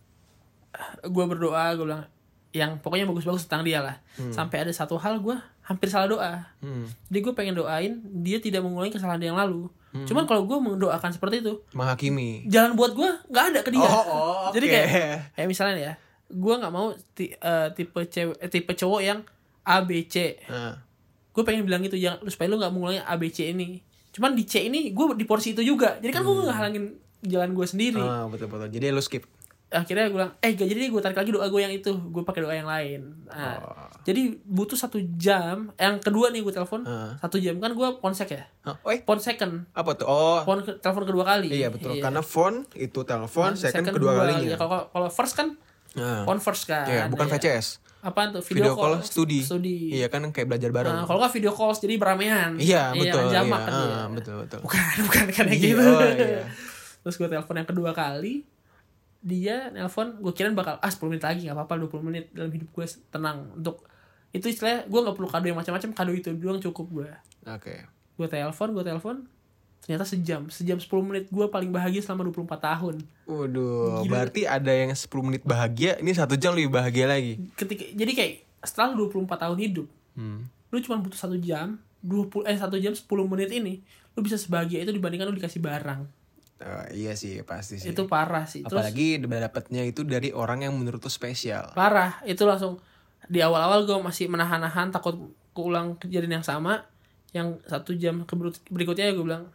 gua berdoa gua bilang yang pokoknya bagus-bagus tentang dia lah sampai ada satu hal gua hampir salah doa
Hmm.
jadi gue pengen doain dia tidak mengulangi kesalahan dia yang lalu
Hmm.
cuman kalau gua mendoakan seperti itu
Menghakimi.
jalan buat gua nggak ada ke dia
oh,
Jadi
oke.
kayak- kayak misalnya ya gua nggak mau ti- eh, tipe cewek eh, tipe cowok yang A B C
Nah,
gue pengen bilang gitu jangan supaya lu nggak mengulangi A B C ini cuman di C ini gue di porsi itu juga jadi kan gue nggak halangin jalan gue sendiri
Hmm. ah, betul betul. Jadi lu skip.
akhirnya gue bilang eh gak jadi gue tarik lagi doa gue yang itu gue pakai doa yang lain
Ah.
Nah, jadi butuh satu jam yang kedua nih gue telepon
Ah.
satu jam kan gue ponsek ya
Hah, oh, eh,
pon second
apa tuh? Oh,
pon ke- telepon kedua kali
iya betul. Karena phone itu telepon, second,
Second
kedua
dua,
kalinya.
ya, kalau kalau first kan
Nah.
pon first kan
Iya, bukan
ya.
VCS.
apaan tuh
Video, call, studi. Iya kan kayak belajar bareng.
Nah, kalau nggak video calls jadi beramean
iya, betul.
kan,
Iya,
jamak kan dia.
ah, betul betul.
bukan bukan kayak
Iya,
gitu
oh, iya.
terus gue telepon yang kedua kali dia nelpon gue kirain bakal ah 10 menit lagi gak apa-apa 20 menit dalam hidup gue tenang untuk itu istilahnya gue nggak perlu kado yang macam-macam kado itu doang cukup gue
Oke.
gue telepon gue telepon ternyata sejam sejam 10 menit gue paling bahagia selama 24 tahun
Waduh,
Gila.
berarti ada yang 10 menit bahagia, ini satu jam lebih bahagia lagi.
ketika jadi kayak setelah lu 24 tahun hidup
Hmm.
lu cuma butuh satu jam 20 eh satu jam 10 menit ini lu bisa sebahagia itu dibandingkan lu dikasih barang
Eh, iya sih, pasti sih.
itu parah sih terus
Apalagi dapatnya itu dari orang yang menurut lu spesial.
parah itu langsung di awal-awal gue masih menahan-nahan takut keulang kejadian yang sama yang satu jam ke- berikutnya gue bilang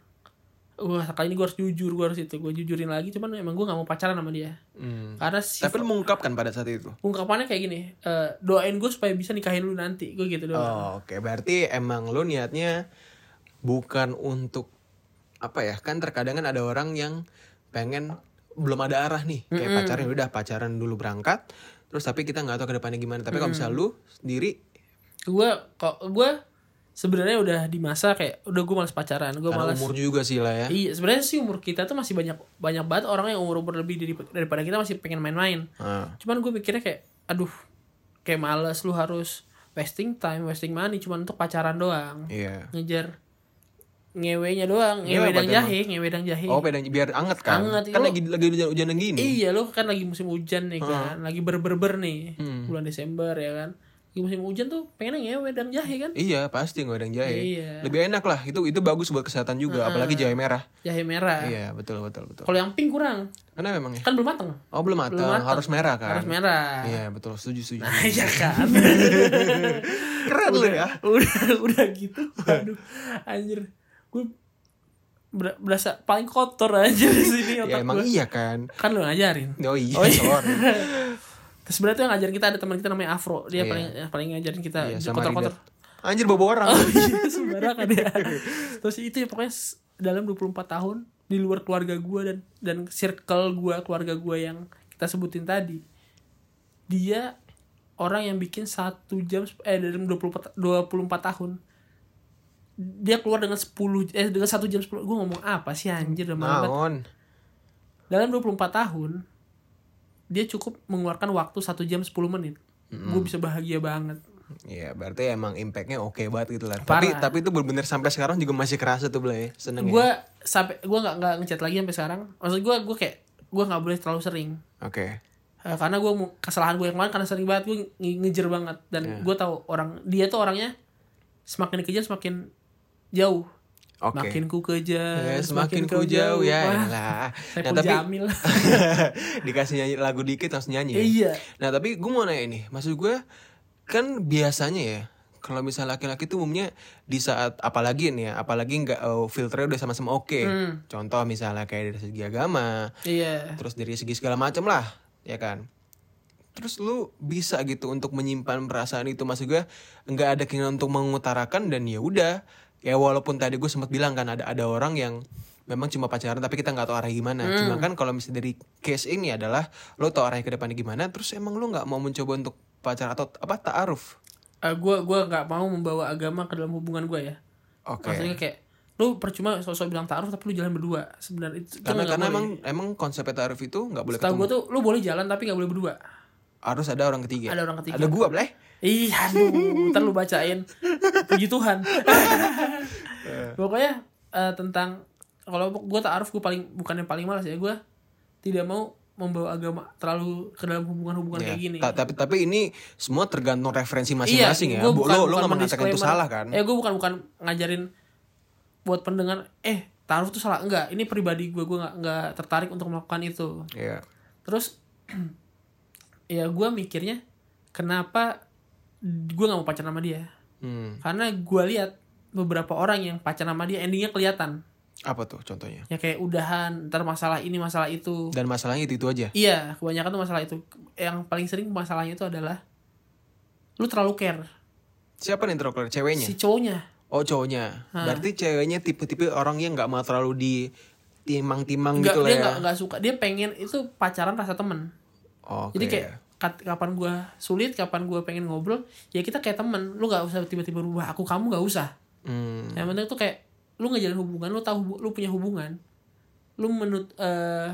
wah kali ini gue harus jujur gue harus itu gue jujurin lagi cuman emang gue nggak mau pacaran sama dia
Hmm.
karena si
Tapi lu mengungkapkan pada saat itu.
ungkapannya kayak gini eh, doain gue supaya bisa nikahin lu nanti gue gitu doang
Oh, Oke, berarti emang lu niatnya bukan untuk apa ya? Kan terkadang kan ada orang yang pengen belum ada arah nih, kayak pacaran udah pacaran dulu berangkat, terus tapi kita nggak tahu ke depannya gimana. Tapi kalau misalnya lu sendiri
gue kok gue sebenarnya udah di masa kayak udah gue malas pacaran gue
karena
malas
umur juga sih lah ya.
iya sebenarnya sih umur kita tuh masih banyak banyak banget orang yang umur umur lebih dari- daripada kita masih pengen main-main
Ah,
cuman gue mikirnya kayak aduh kayak males lu harus wasting time wasting money cuman untuk pacaran doang
iya.
ngejar ngewenya doang ngewe
Ngewe apa
dan
tuh
jahe ngewe dan jahe
Oh, pedang biar anget kan?
Iya. Anget,
kan
lu-
lagi lagi hujan-hujanan gini. Hmm.
iya lu kan lagi musim hujan nih kan lagi berberber nih bulan desember ya kan di musim hujan tuh pengen ngewe dan jahe kan
Iya pasti ngodeng jahe.
Iya.
Lebih enak lah itu itu bagus buat kesehatan juga apalagi jahe merah.
jahe merah
Iya betul betul betul.
kalau yang pink kurang
Karena memang ya.
kan belum mateng
Oh belum matang,
matang.
harus merah kan.
harus merah
Iya betul setuju setuju.
nah iya kan
Keren lu ya.
udah udah gitu aduh anjir gue ber- berasa paling kotor aja di sini
Ya
otak
emang
gue
iya kan.
kan lu ngajarin
Oh iya,
Oh, iya.
sorry.
terus sebenarnya tuh yang ngajarin kita ada teman kita namanya Afro dia
Iya.
paling yang paling ngajarin kita
Iya, sama
kotor-kotor
Ridat. Anjir bobo orang.
Oh, iya, sembarangan ya terus itu ya pokoknya s- dalam 24 tahun di luar keluarga gue dan dan circle gue keluarga gue yang kita sebutin tadi dia orang yang bikin satu jam sep- eh dalam 24 24 tahun dia keluar dengan 10 eh dengan satu jam 10 gue ngomong apa sih anjir dalam
Naon.
dalam 24 tahun dia cukup mengeluarkan waktu satu jam 10 menit gue bisa bahagia banget
Iya, berarti emang impactnya oke banget gitu lah. Tapi
Parah.
tapi itu benar-benar sampai sekarang juga masih kerasa tuh Blay. Seneng ya.
gue sampai gue nggak nggak ngechat lagi sampai sekarang maksud gue gue kayak gue nggak boleh terlalu sering
Oke.
Eh, karena gue mau kesalahan gue yang kemarin karena sering banget gue ngejer banget dan
Iya.
gue tahu orang dia tuh orangnya semakin dikejar semakin jauh
Oke.
makin eh, ku kejar
Ya, semakin ku jauh
Wah,
ya. Lah.
saya
Nah,
pun
tapi
jamil
dikasih nyanyi lagu dikit harus nyanyi. ya.
iya
Nah, tapi gue mau nanya nih. Maksud gue kan biasanya ya kalau misalnya laki-laki tuh umumnya di saat apalagi nih ya, apalagi nggak eh, filternya udah sama-sama oke.
Hmm.
Contoh misalnya kayak dari segi agama,
iya
terus dari segi segala macam lah ya kan terus lu bisa gitu untuk menyimpan perasaan itu maksud gue nggak ada keinginan untuk mengutarakan dan ya udah ya walaupun tadi gue sempat bilang kan ada ada orang yang memang cuma pacaran tapi kita nggak tahu arah gimana
Hmm.
cuma kan kalau misalnya dari case ini adalah lo tahu arahnya ke depannya gimana terus emang lu nggak mau mencoba untuk pacar atau apa taaruf
Eh, gue gue nggak mau membawa agama ke dalam hubungan gue ya
oke
maksudnya kayak lu percuma sosok bilang taruh tapi lu jalan berdua sebenarnya itu itu
karena
nggak
karena
boleh.
emang emang konsep taaruf itu nggak boleh
Setahu
ketemu
gue tuh lu boleh jalan tapi nggak boleh berdua.
harus ada orang ketiga
Ada orang ketiga.
ada gue bleh
Ih, aduh, ntar lu bacain. Puji Tuhan. Pokoknya eh, tentang kalau gue taaruf gue paling bukan yang paling malas ya gue tidak mau membawa agama terlalu ke dalam hubungan-hubungan
Ya,
kayak gini. Iya,
ta- tapi tapi ini semua tergantung referensi masing-masing ya. Bu, lo lo nggak mengatakan itu
mendisclaimer.
salah kan?
Eh, gue bukan bukan ngajarin buat pendengar eh taruh tuh salah enggak. Ini pribadi gue gue nggak nggak tertarik untuk melakukan itu.
Iya.
terus ya gue mikirnya kenapa gue nggak mau pacaran sama dia
Hmm.
karena gue lihat beberapa orang yang pacaran sama dia endingnya kelihatan
Apa tuh contohnya?
ya kayak udahan ntar masalah ini masalah itu
Dan masalahnya itu itu aja.
iya kebanyakan tuh masalah itu yang paling sering masalahnya itu adalah lu terlalu care
Siapa nih terlalu ceweknya?
si cowoknya
Oh cowoknya. Berarti ceweknya tipe-tipe orang yang nggak mau terlalu di timang-timang
nggak
gitu lah
dia
ya.
nggak nggak suka dia pengen itu pacaran rasa temen
Oke. iya.
jadi kayak kat- kapan gue sulit kapan gue pengen ngobrol ya kita kayak temen lu nggak usah tiba-tiba berubah aku kamu nggak usah
Hmm.
yang penting tuh kayak lu ngejalin hubungan lu tahu hubu- lu punya hubungan lu menut eh,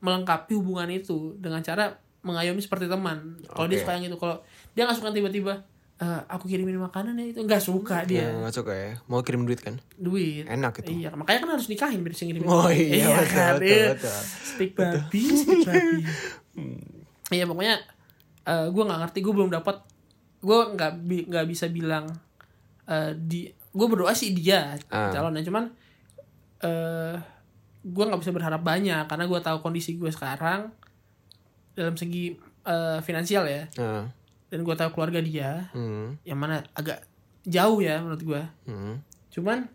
melengkapi hubungan itu dengan cara mengayomi seperti teman kalau dia
Oke.
suka yang itu kalau dia nggak suka tiba-tiba eh, aku kirimin makanan ya itu nggak suka
Ya,
dia
nggak suka ya. Mau kirim duit kan?
duit
Enak itu.
iya makanya kan harus nikahin biar bisa ngirimin
Gitu. Oh iya, betul,
kan?
betul,
Iya.
betul. Hmm.
speak babi speak babi iya pokoknya eh gue nggak ngerti gue belum dapat gue nggak bi- nggak bisa bilang eh, di gue berdoa sih dia
Ah.
calonnya cuman eh gue nggak bisa berharap banyak karena gue tahu kondisi gue sekarang dalam segi eh, finansial ya
Nah.
dan gue tahu keluarga dia
Hmm.
yang mana agak jauh ya menurut gue
Hmm.
cuman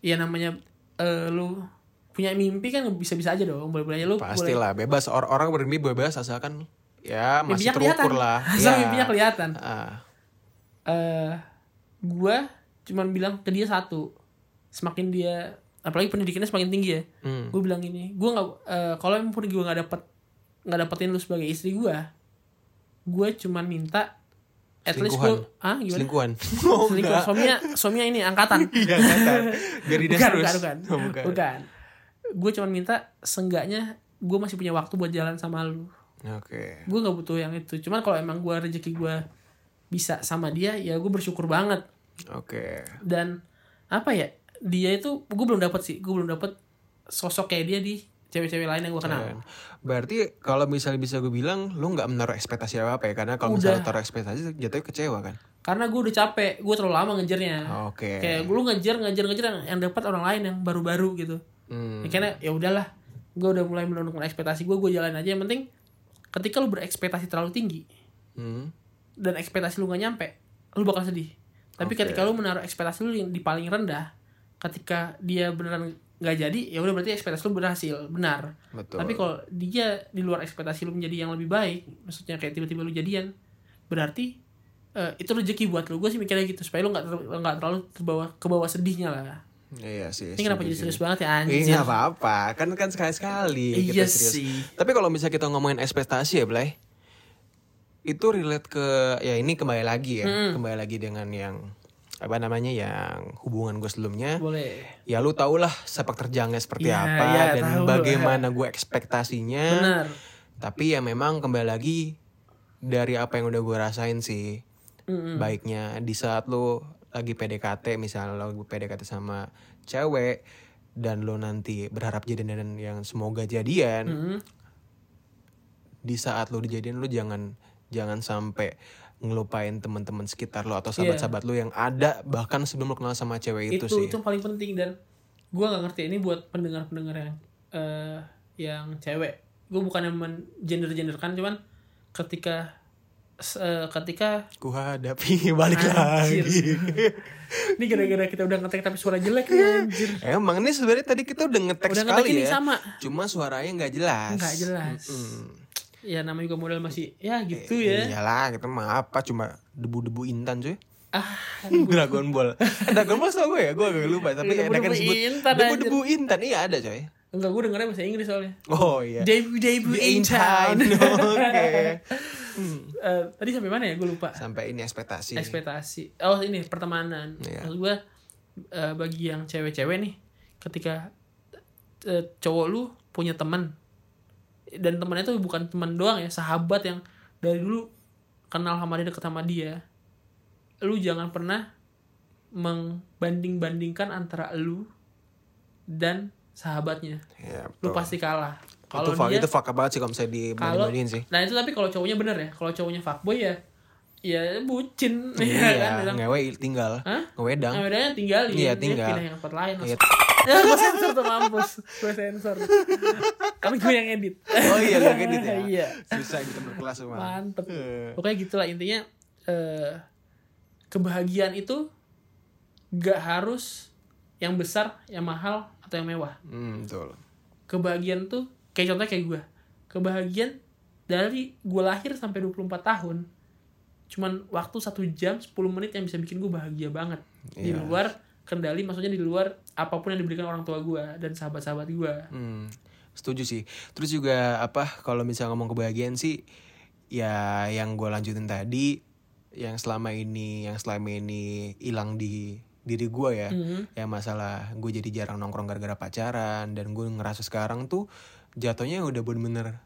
ya namanya eh, lu punya mimpi kan bisa-bisa aja dong boleh-boleh aja lu boleh
Pastilah bebas Or- orang bermimpi bebas asalkan ya masih
mimpinya
terukur
kelihatan
lah.
asal
Iya.
mimpinya kelihatan
Ah.
eh gue cuman bilang ke dia satu semakin dia apalagi pendidikannya semakin tinggi ya
Hmm.
gue bilang ini gue nggak eh, kalau emang gue nggak dapet nggak dapetin lu sebagai istri gue gue cuman minta at least gue
Selingkuhan.
ah gimana
Selingkuhan. Oh,
selingkuh suaminya suaminya ini angkatan
Iya kan. Biar didas
bukan,
terus.
bukan, bukan,
Oh,
bukan. Gue cuma minta senggaknya gue masih punya waktu buat jalan sama lu.
Oke.
Gue nggak butuh yang itu. Cuman kalau emang gue rezeki gue bisa sama dia, ya gue bersyukur banget.
Oke.
Dan apa ya? Dia itu gue belum dapet sih. Gue belum dapet sosok kayak dia di cewek-cewek lain yang gue kenal.
Keren. Berarti kalau misalnya bisa gue bilang lu nggak menaruh ekspektasi apa apa ya karena kalau misalnya taruh ekspektasi jatuhnya kecewa kan.
Karena gue udah capek, gue terlalu lama ngejarnya.
Oke.
Nah, Kayak lu ngejar ngejar ngejar yang, yang dapat orang lain yang baru-baru gitu.
Hmm.
Ya, karena ya udahlah, gue udah mulai menurunkan ekspektasi gue, gue jalan aja. Yang penting ketika lu berekspektasi terlalu tinggi
Hmm.
dan ekspektasi lu gak nyampe, lu bakal sedih. Tapi
Oke.
ketika lu menaruh ekspektasi lu yang di paling rendah, ketika dia beneran nggak jadi, ya udah berarti ekspektasi lu berhasil, benar.
Betul.
Tapi kalau dia di luar ekspektasi lu menjadi yang lebih baik, maksudnya kayak tiba-tiba lu jadian, berarti eh, itu rezeki buat lu. Gue sih mikirnya gitu supaya lu nggak ter- nggak terlalu terbawa ke bawah sedihnya lah.
Iya sih.
Ini kenapa jadi
setuju
serius
sih.
banget ya
Ih,
anjir?
nggak apa-apa. Kan kan sekali-sekali
Iya
kita serius.
sih.
Tapi kalau misalnya kita ngomongin ekspektasi ya, Blay. Itu relate ke ya ini kembali lagi ya,
Hmm.
kembali lagi dengan yang apa namanya yang hubungan gue sebelumnya.
Boleh.
Ya lu tau lah sepak terjangnya seperti
Iya,
apa
iya,
dan
tahu.
bagaimana gue ekspektasinya.
Benar.
Tapi ya memang kembali lagi dari apa yang udah gue rasain sih. Baiknya di saat lo lagi PDKT misalnya lo PDKT sama cewek dan lo nanti berharap jadian dan yang semoga jadian.
Mm.
Di saat lo dijadian lo jangan jangan sampai ngelupain teman-teman sekitar lo atau sahabat-sahabat lo yang ada bahkan sebelum lo kenal sama cewek
Iya.
itu,
Itu itu,
Gitu sih.
yang paling penting dan gue nggak ngerti ini buat pendengar-pendengar yang eh, yang cewek. Gue bukan yang menjender-jenderkan cuman ketika s- eh, ketika
Ku hadapi balik
Anjir.
lagi.
ini gara-gara kita udah ngetek tapi suara jelek nih anjir.
Emang ini sebenarnya tadi kita udah ngetek
Udah ngetek
sekali
ini
ya.
sama.
Cuma suaranya nggak jelas.
nggak jelas ya namanya juga model masih ya gitu ya
Eh, Iyalah, kita mah apa cuma debu-debu intan cuy.
ah
Dragon Ball. Dragon Ball tau gue ya, gue agak lupa tapi ada
Debu-debu
kan disebut
intan,
debu-debu intan. Iya ada coy.
enggak gue dengernya bahasa Inggris soalnya
Oh iya.
debut debut
The
in
Intan.
town
Oke.
Eh, tadi sampai mana ya gue lupa
Sampai ini ekspektasi.
ekspektasi oh ini pertemanan
Iya.
maksud gue eh, bagi yang cewek-cewek nih ketika eh, cowok lu punya teman dan temannya tuh bukan teman doang ya sahabat yang dari dulu kenal sama dia deket sama dia lu jangan pernah membanding-bandingkan antara lu dan sahabatnya
Iya,
lu
betul.
pasti kalah
itu
kalau
fuck,
dia
itu fuck banget sih kalau misalnya
kalau
dibanding-bandingin sih.
nah itu tapi kalau cowoknya bener ya kalau cowoknya fuckboy ya ya bucin ya kan
Iya,
bilang
ngewe tinggal.
Hah?
Ngewedang.
nah, bedanya tinggalin
Iya,
dia
tinggal.
pindah yang tempat lain
Iya.
ya gue sensor tuh mampus gue sensor kan gue yang edit
Oh iya, gak edit ya.
Iya.
Susah kita berkelas semua.
mantep
Eh.
pokoknya gitulah intinya eh, kebahagiaan itu gak harus yang besar yang mahal atau yang mewah
Hmm, betul.
kebahagiaan tuh kayak contohnya kayak gue kebahagiaan dari gue lahir sampai 24 tahun cuman waktu satu jam 10 menit yang bisa bikin gue bahagia banget di
Iya.
luar kendali maksudnya di luar apapun yang diberikan orang tua gue dan sahabat-sahabat gue
Hmm, setuju sih. Terus juga apa kalau misalnya ngomong kebahagiaan sih ya yang gue lanjutin tadi yang selama ini yang selama ini hilang di diri gue ya.
Hmm. Mm-hmm.
Yang masalah gue jadi jarang nongkrong gara-gara pacaran dan gue ngerasa sekarang tuh jatuhnya udah bener-bener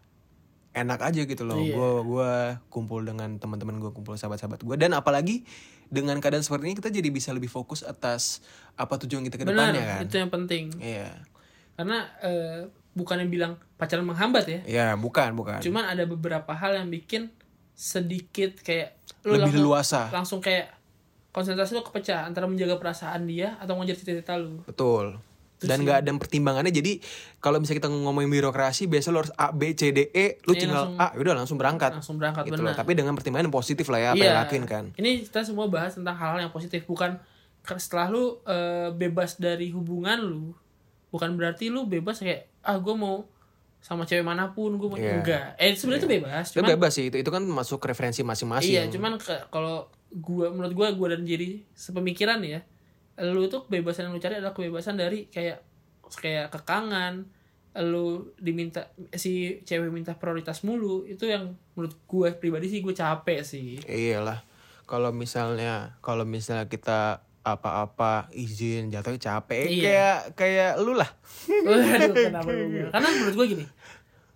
enak aja gitu loh.
Iya.
Gue gua kumpul dengan teman-teman gue, kumpul sahabat-sahabat gue dan apalagi dengan keadaan seperti ini kita jadi bisa lebih fokus atas apa tujuan kita ke
benar
depannya kan.
itu yang penting
Iya.
karena eh, bukannya bilang pacaran menghambat ya
Iya, bukan, bukan.
cuman ada beberapa hal yang bikin sedikit kayak lu
lebih
langsung,
luasa.
langsung kayak konsentrasi lu kepecah antara menjaga perasaan dia atau ngejar cita-cita lu
Betul. Dan nggak ada pertimbangannya. Jadi kalau misalnya kita ngomongin birokrasi, biasa lo harus A B C D E, lu
Iya,
tinggal
langsung-
A, udah langsung berangkat.
langsung berangkat
gitu
benar Iya.
loh. Tapi dengan pertimbangan yang positif lah ya apa yang lakuin kan.
Ini kita semua bahas tentang hal-hal yang positif, bukan ke- setelah lu eh, bebas dari hubungan lu, bukan berarti lu bebas kayak ah gue mau sama cewek manapun gue mau
Iya.
enggak. Eh sebenarnya itu bebas,
Itu
cuman
bebas sih itu itu kan masuk referensi masing-masing.
iya, cuman ke- kalau gua menurut gua gua dan diri sepemikiran ya, lu tuh kebebasan yang lu cari adalah kebebasan dari kayak kayak kekangan, lu diminta si cewek minta prioritas mulu, itu yang menurut gua pribadi sih gue capek sih.
Iyalah. Kalau misalnya kalau misalnya kita apa-apa izin jatuhnya capek
Iya.
kayak kayak lu lah.
Waduh, kenapa lu bilang? Karena menurut gue gini,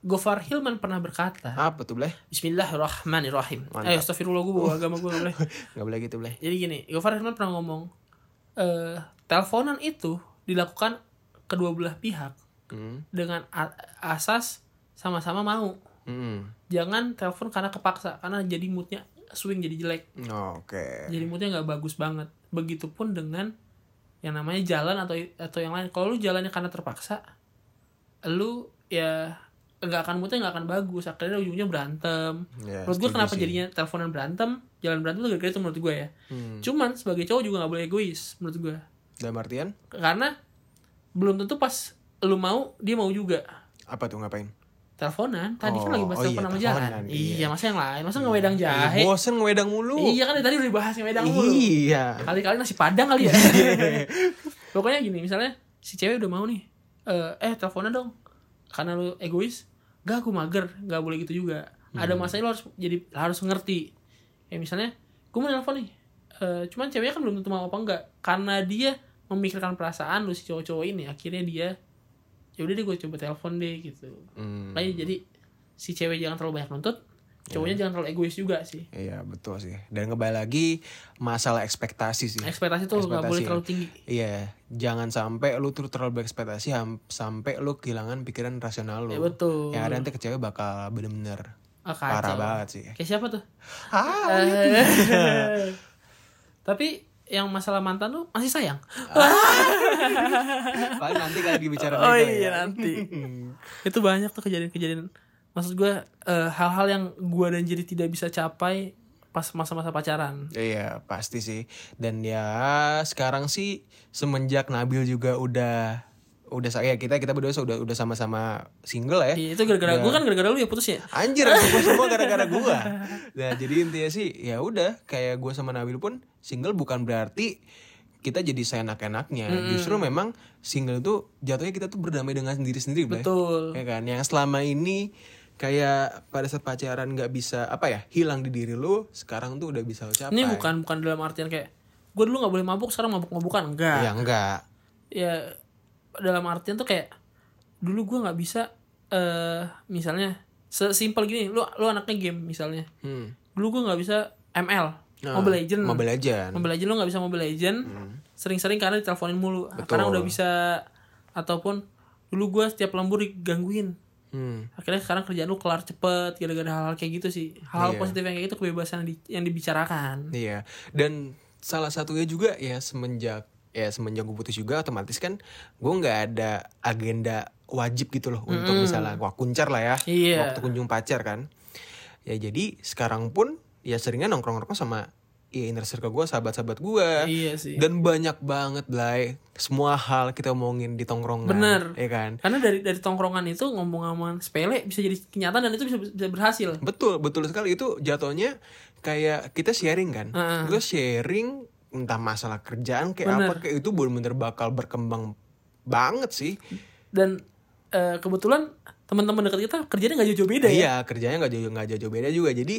Gofar Hilman pernah berkata,
Apa tuh, Bleh?
Bismillahirrahmanirrahim.
Mantap.
Eh, astagfirullah gue bawa agama gue boleh.
Enggak boleh gitu, Bleh.
Jadi gini, Gofar Hilman pernah ngomong, eh teleponan itu dilakukan kedua belah pihak
Hmm.
dengan a- asas sama-sama mau.
Hmm.
Jangan telepon karena kepaksa karena jadi moodnya swing jadi jelek.
Oke.
Jadi moodnya nggak bagus banget. Begitupun dengan yang namanya jalan atau atau yang lain. Kalau lu jalannya karena terpaksa, lu ya nggak akan moodnya nggak akan bagus. Akhirnya ujungnya berantem.
Ya,
menurut gue
setuju
kenapa
sih.
jadinya teleponan berantem, jalan berantem tuh gara-gara itu menurut gue ya.
Hmm.
Cuman sebagai cowok juga nggak boleh egois menurut gue.
Dalam artian
Karena belum tentu pas lu mau dia mau juga.
apa tuh ngapain?
teleponan tadi kan
Oh,
lagi bahas
oh iya,
telepon sama
teleponan,
jalan
iya.
iya. masa yang lain masa ngewedang jahe
Ya, bosen ngewedang mulu.
iya kan dari tadi udah dibahas ngewedang mulu
Iya.
kali-kali nasi padang kali ya pokoknya gini misalnya si cewek udah mau nih eh, eh teleponan dong karena lu egois gak aku mager gak boleh gitu juga
Hmm.
ada masanya lu harus jadi harus ngerti ya misalnya gue mau telepon nih Eh, cuman ceweknya kan belum tentu mau apa enggak karena dia memikirkan perasaan lu si cowok-cowok ini akhirnya dia ya udah deh gue coba telepon deh gitu
Hmm. Ya.
Makanya jadi si cewek jangan terlalu banyak nuntut, cowoknya jangan terlalu egois juga sih.
Iya betul sih. Dan kembali lagi masalah ekspektasi sih.
Ekspektasi tuh nggak
Hmm. Ekspektasi
boleh
ya.
terlalu tinggi.
Iya, jangan sampai lu tuh terlalu berekspektasi ham- sampai lu kehilangan pikiran rasional lu.
Ya betul.
Yang ada nanti kecewa bakal bener-bener
Ah, kacau.
parah banget ya. sih.
Kayak siapa tuh?
Ah,
Eh. Tapi yang masalah mantan lu masih sayang.
paling nanti kalau dibicara
Eh. Oh
mereka
iya,
ya.
nanti. Itu banyak tuh kejadian-kejadian. Maksud gue eh, hal-hal yang gue dan jadi tidak bisa capai pas masa-masa pacaran.
Iya pasti sih dan ya sekarang sih semenjak Nabil juga udah udah saya kita kita berdua sudah udah sama-sama single lah ya
Iya, itu gara-gara gue kan gara-gara lu ya putus ya.
Anjir, gue semua gara-gara gua. Nah, jadi intinya sih ya udah kayak gua sama Nabil pun single bukan berarti kita jadi seenak-enaknya. Justru memang single tuh jatuhnya kita tuh berdamai dengan sendiri sendiri, Blay.
Betul.
Ya kan, yang selama ini kayak pada saat pacaran nggak bisa apa ya hilang di diri lu sekarang tuh udah bisa lu capai
Ini bukan bukan dalam artian kayak gue dulu nggak boleh mabuk sekarang mabuk-mabukan enggak.
ya enggak
ya dalam artian tuh kayak dulu gue nggak bisa eh misalnya sesimpel gini lu lu anaknya game misalnya
hmm.
dulu gue nggak bisa ML
Nah,
Mobile Legend Mobile,
Mobile Legend
Legend lu nggak bisa Mobile Legend sering-sering karena diteleponin mulu karena udah bisa ataupun dulu gue setiap lembur digangguin
hmm.
akhirnya sekarang kerjaan lu kelar cepet gara-gara hal-hal kayak gitu sih hal-hal
Iya.
positif yang kayak gitu kebebasan yang, di- yang dibicarakan
Iya, dan salah satunya juga ya semenjak ya semenjak gue putus juga otomatis kan gue nggak ada agenda wajib gitu loh untuk misalnya wah kuncar lah ya
Iya.
waktu kunjung pacar kan ya jadi sekarang pun ya seringnya nongkrong nongkrong sama ya inner circle gue sahabat-sahabat gue
iya sih
dan banyak banget Blay semua hal kita omongin di tongkrongan
Bener.
ya kan
karena dari dari tongkrongan itu ngomong-ngomongan sepele bisa jadi kenyataan dan itu bisa bisa berhasil
Betul, betul sekali itu jatuhnya kayak kita sharing kan.
Heeh.
Lu sharing entah masalah kerjaan kayak
Bener.
apa kayak itu bener-bener bakal berkembang banget sih.
dan eh, kebetulan teman-teman dekat kita kerjanya nggak jauh-jauh beda ya
Iya, kerjanya nggak jauh nggak jauh beda juga. Jadi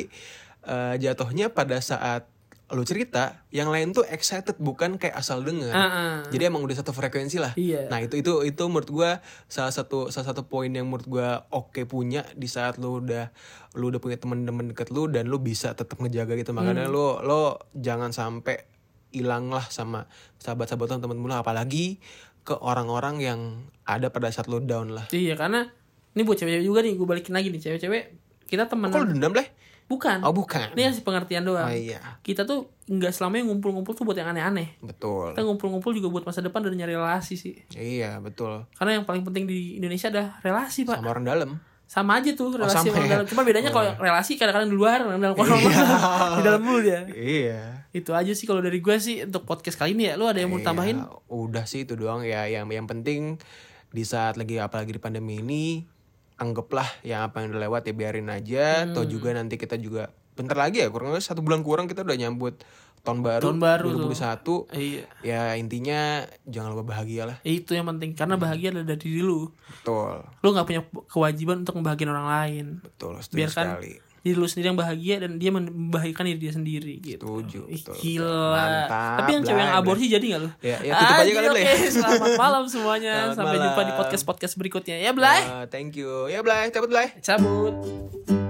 eh, jatuhnya pada saat lu cerita, yang lain tuh excited bukan kayak asal denger.
Heeh.
Jadi emang udah satu frekuensi lah.
Iya.
Nah itu itu itu menurut gua salah satu salah satu poin yang menurut gua oke punya di saat lu udah lu udah punya temen-temen deket lu dan lu bisa tetap ngejaga gitu makanya lu lo jangan sampai hilang lah sama sahabat-sahabat lu, temen temen lu apalagi ke orang-orang yang ada pada saat lu down lah.
iya karena ini buat cewek-cewek juga nih gue balikin lagi nih cewek-cewek kita
Oh, Kok
temenan
lu dendam leh?
bukan
Oh bukan.
ini kasih pengertian doang
Oh iya
kita tuh nggak selamanya ngumpul-ngumpul tuh buat yang aneh-aneh
betul.
kita ngumpul-ngumpul juga buat masa depan dan nyari relasi sih
Iya betul.
karena yang paling penting di Indonesia adalah relasi pak
Sama orang dalam.
sama aja tuh relasi
sama
orang
ya.
dalam cuma bedanya kalau relasi kadang-kadang di luar kadang dalam kolom di dalam dulu dia
Iya.
itu aja sih kalau dari gue sih untuk podcast kali ini ya lu ada yang mau tambahin
Ya, udah sih itu doang ya yang yang penting di saat lagi apalagi di pandemi ini anggaplah yang apa yang udah lewat ya biarin aja
Hmm.
atau juga nanti kita juga bentar lagi ya kurang lebih satu bulan kurang kita udah nyambut tahun baru
Tahun baru tuh.
2021
iya
ya intinya jangan lupa bahagia lah
Eh, itu yang penting karena
Hmm.
bahagia adalah dari diri lu
betul
lu nggak punya kewajiban untuk membahagiain orang lain
betul setuju
biarkan
sekali
diri lu sendiri yang bahagia dan dia membahagiakan diri dia sendiri gitu
setuju
Ih,
betul,
gila
Mantap,
tapi yang cewek yang
Blay.
aborsi jadi nggak lu
Ya, ya, tutup aja
Anjir,
kali, Blay.
oke. selamat malam semuanya
Selamat
sampai jumpa di
malam.
podcast podcast berikutnya ya Blay
Eh, thank you ya Blay cepet Blay
cabut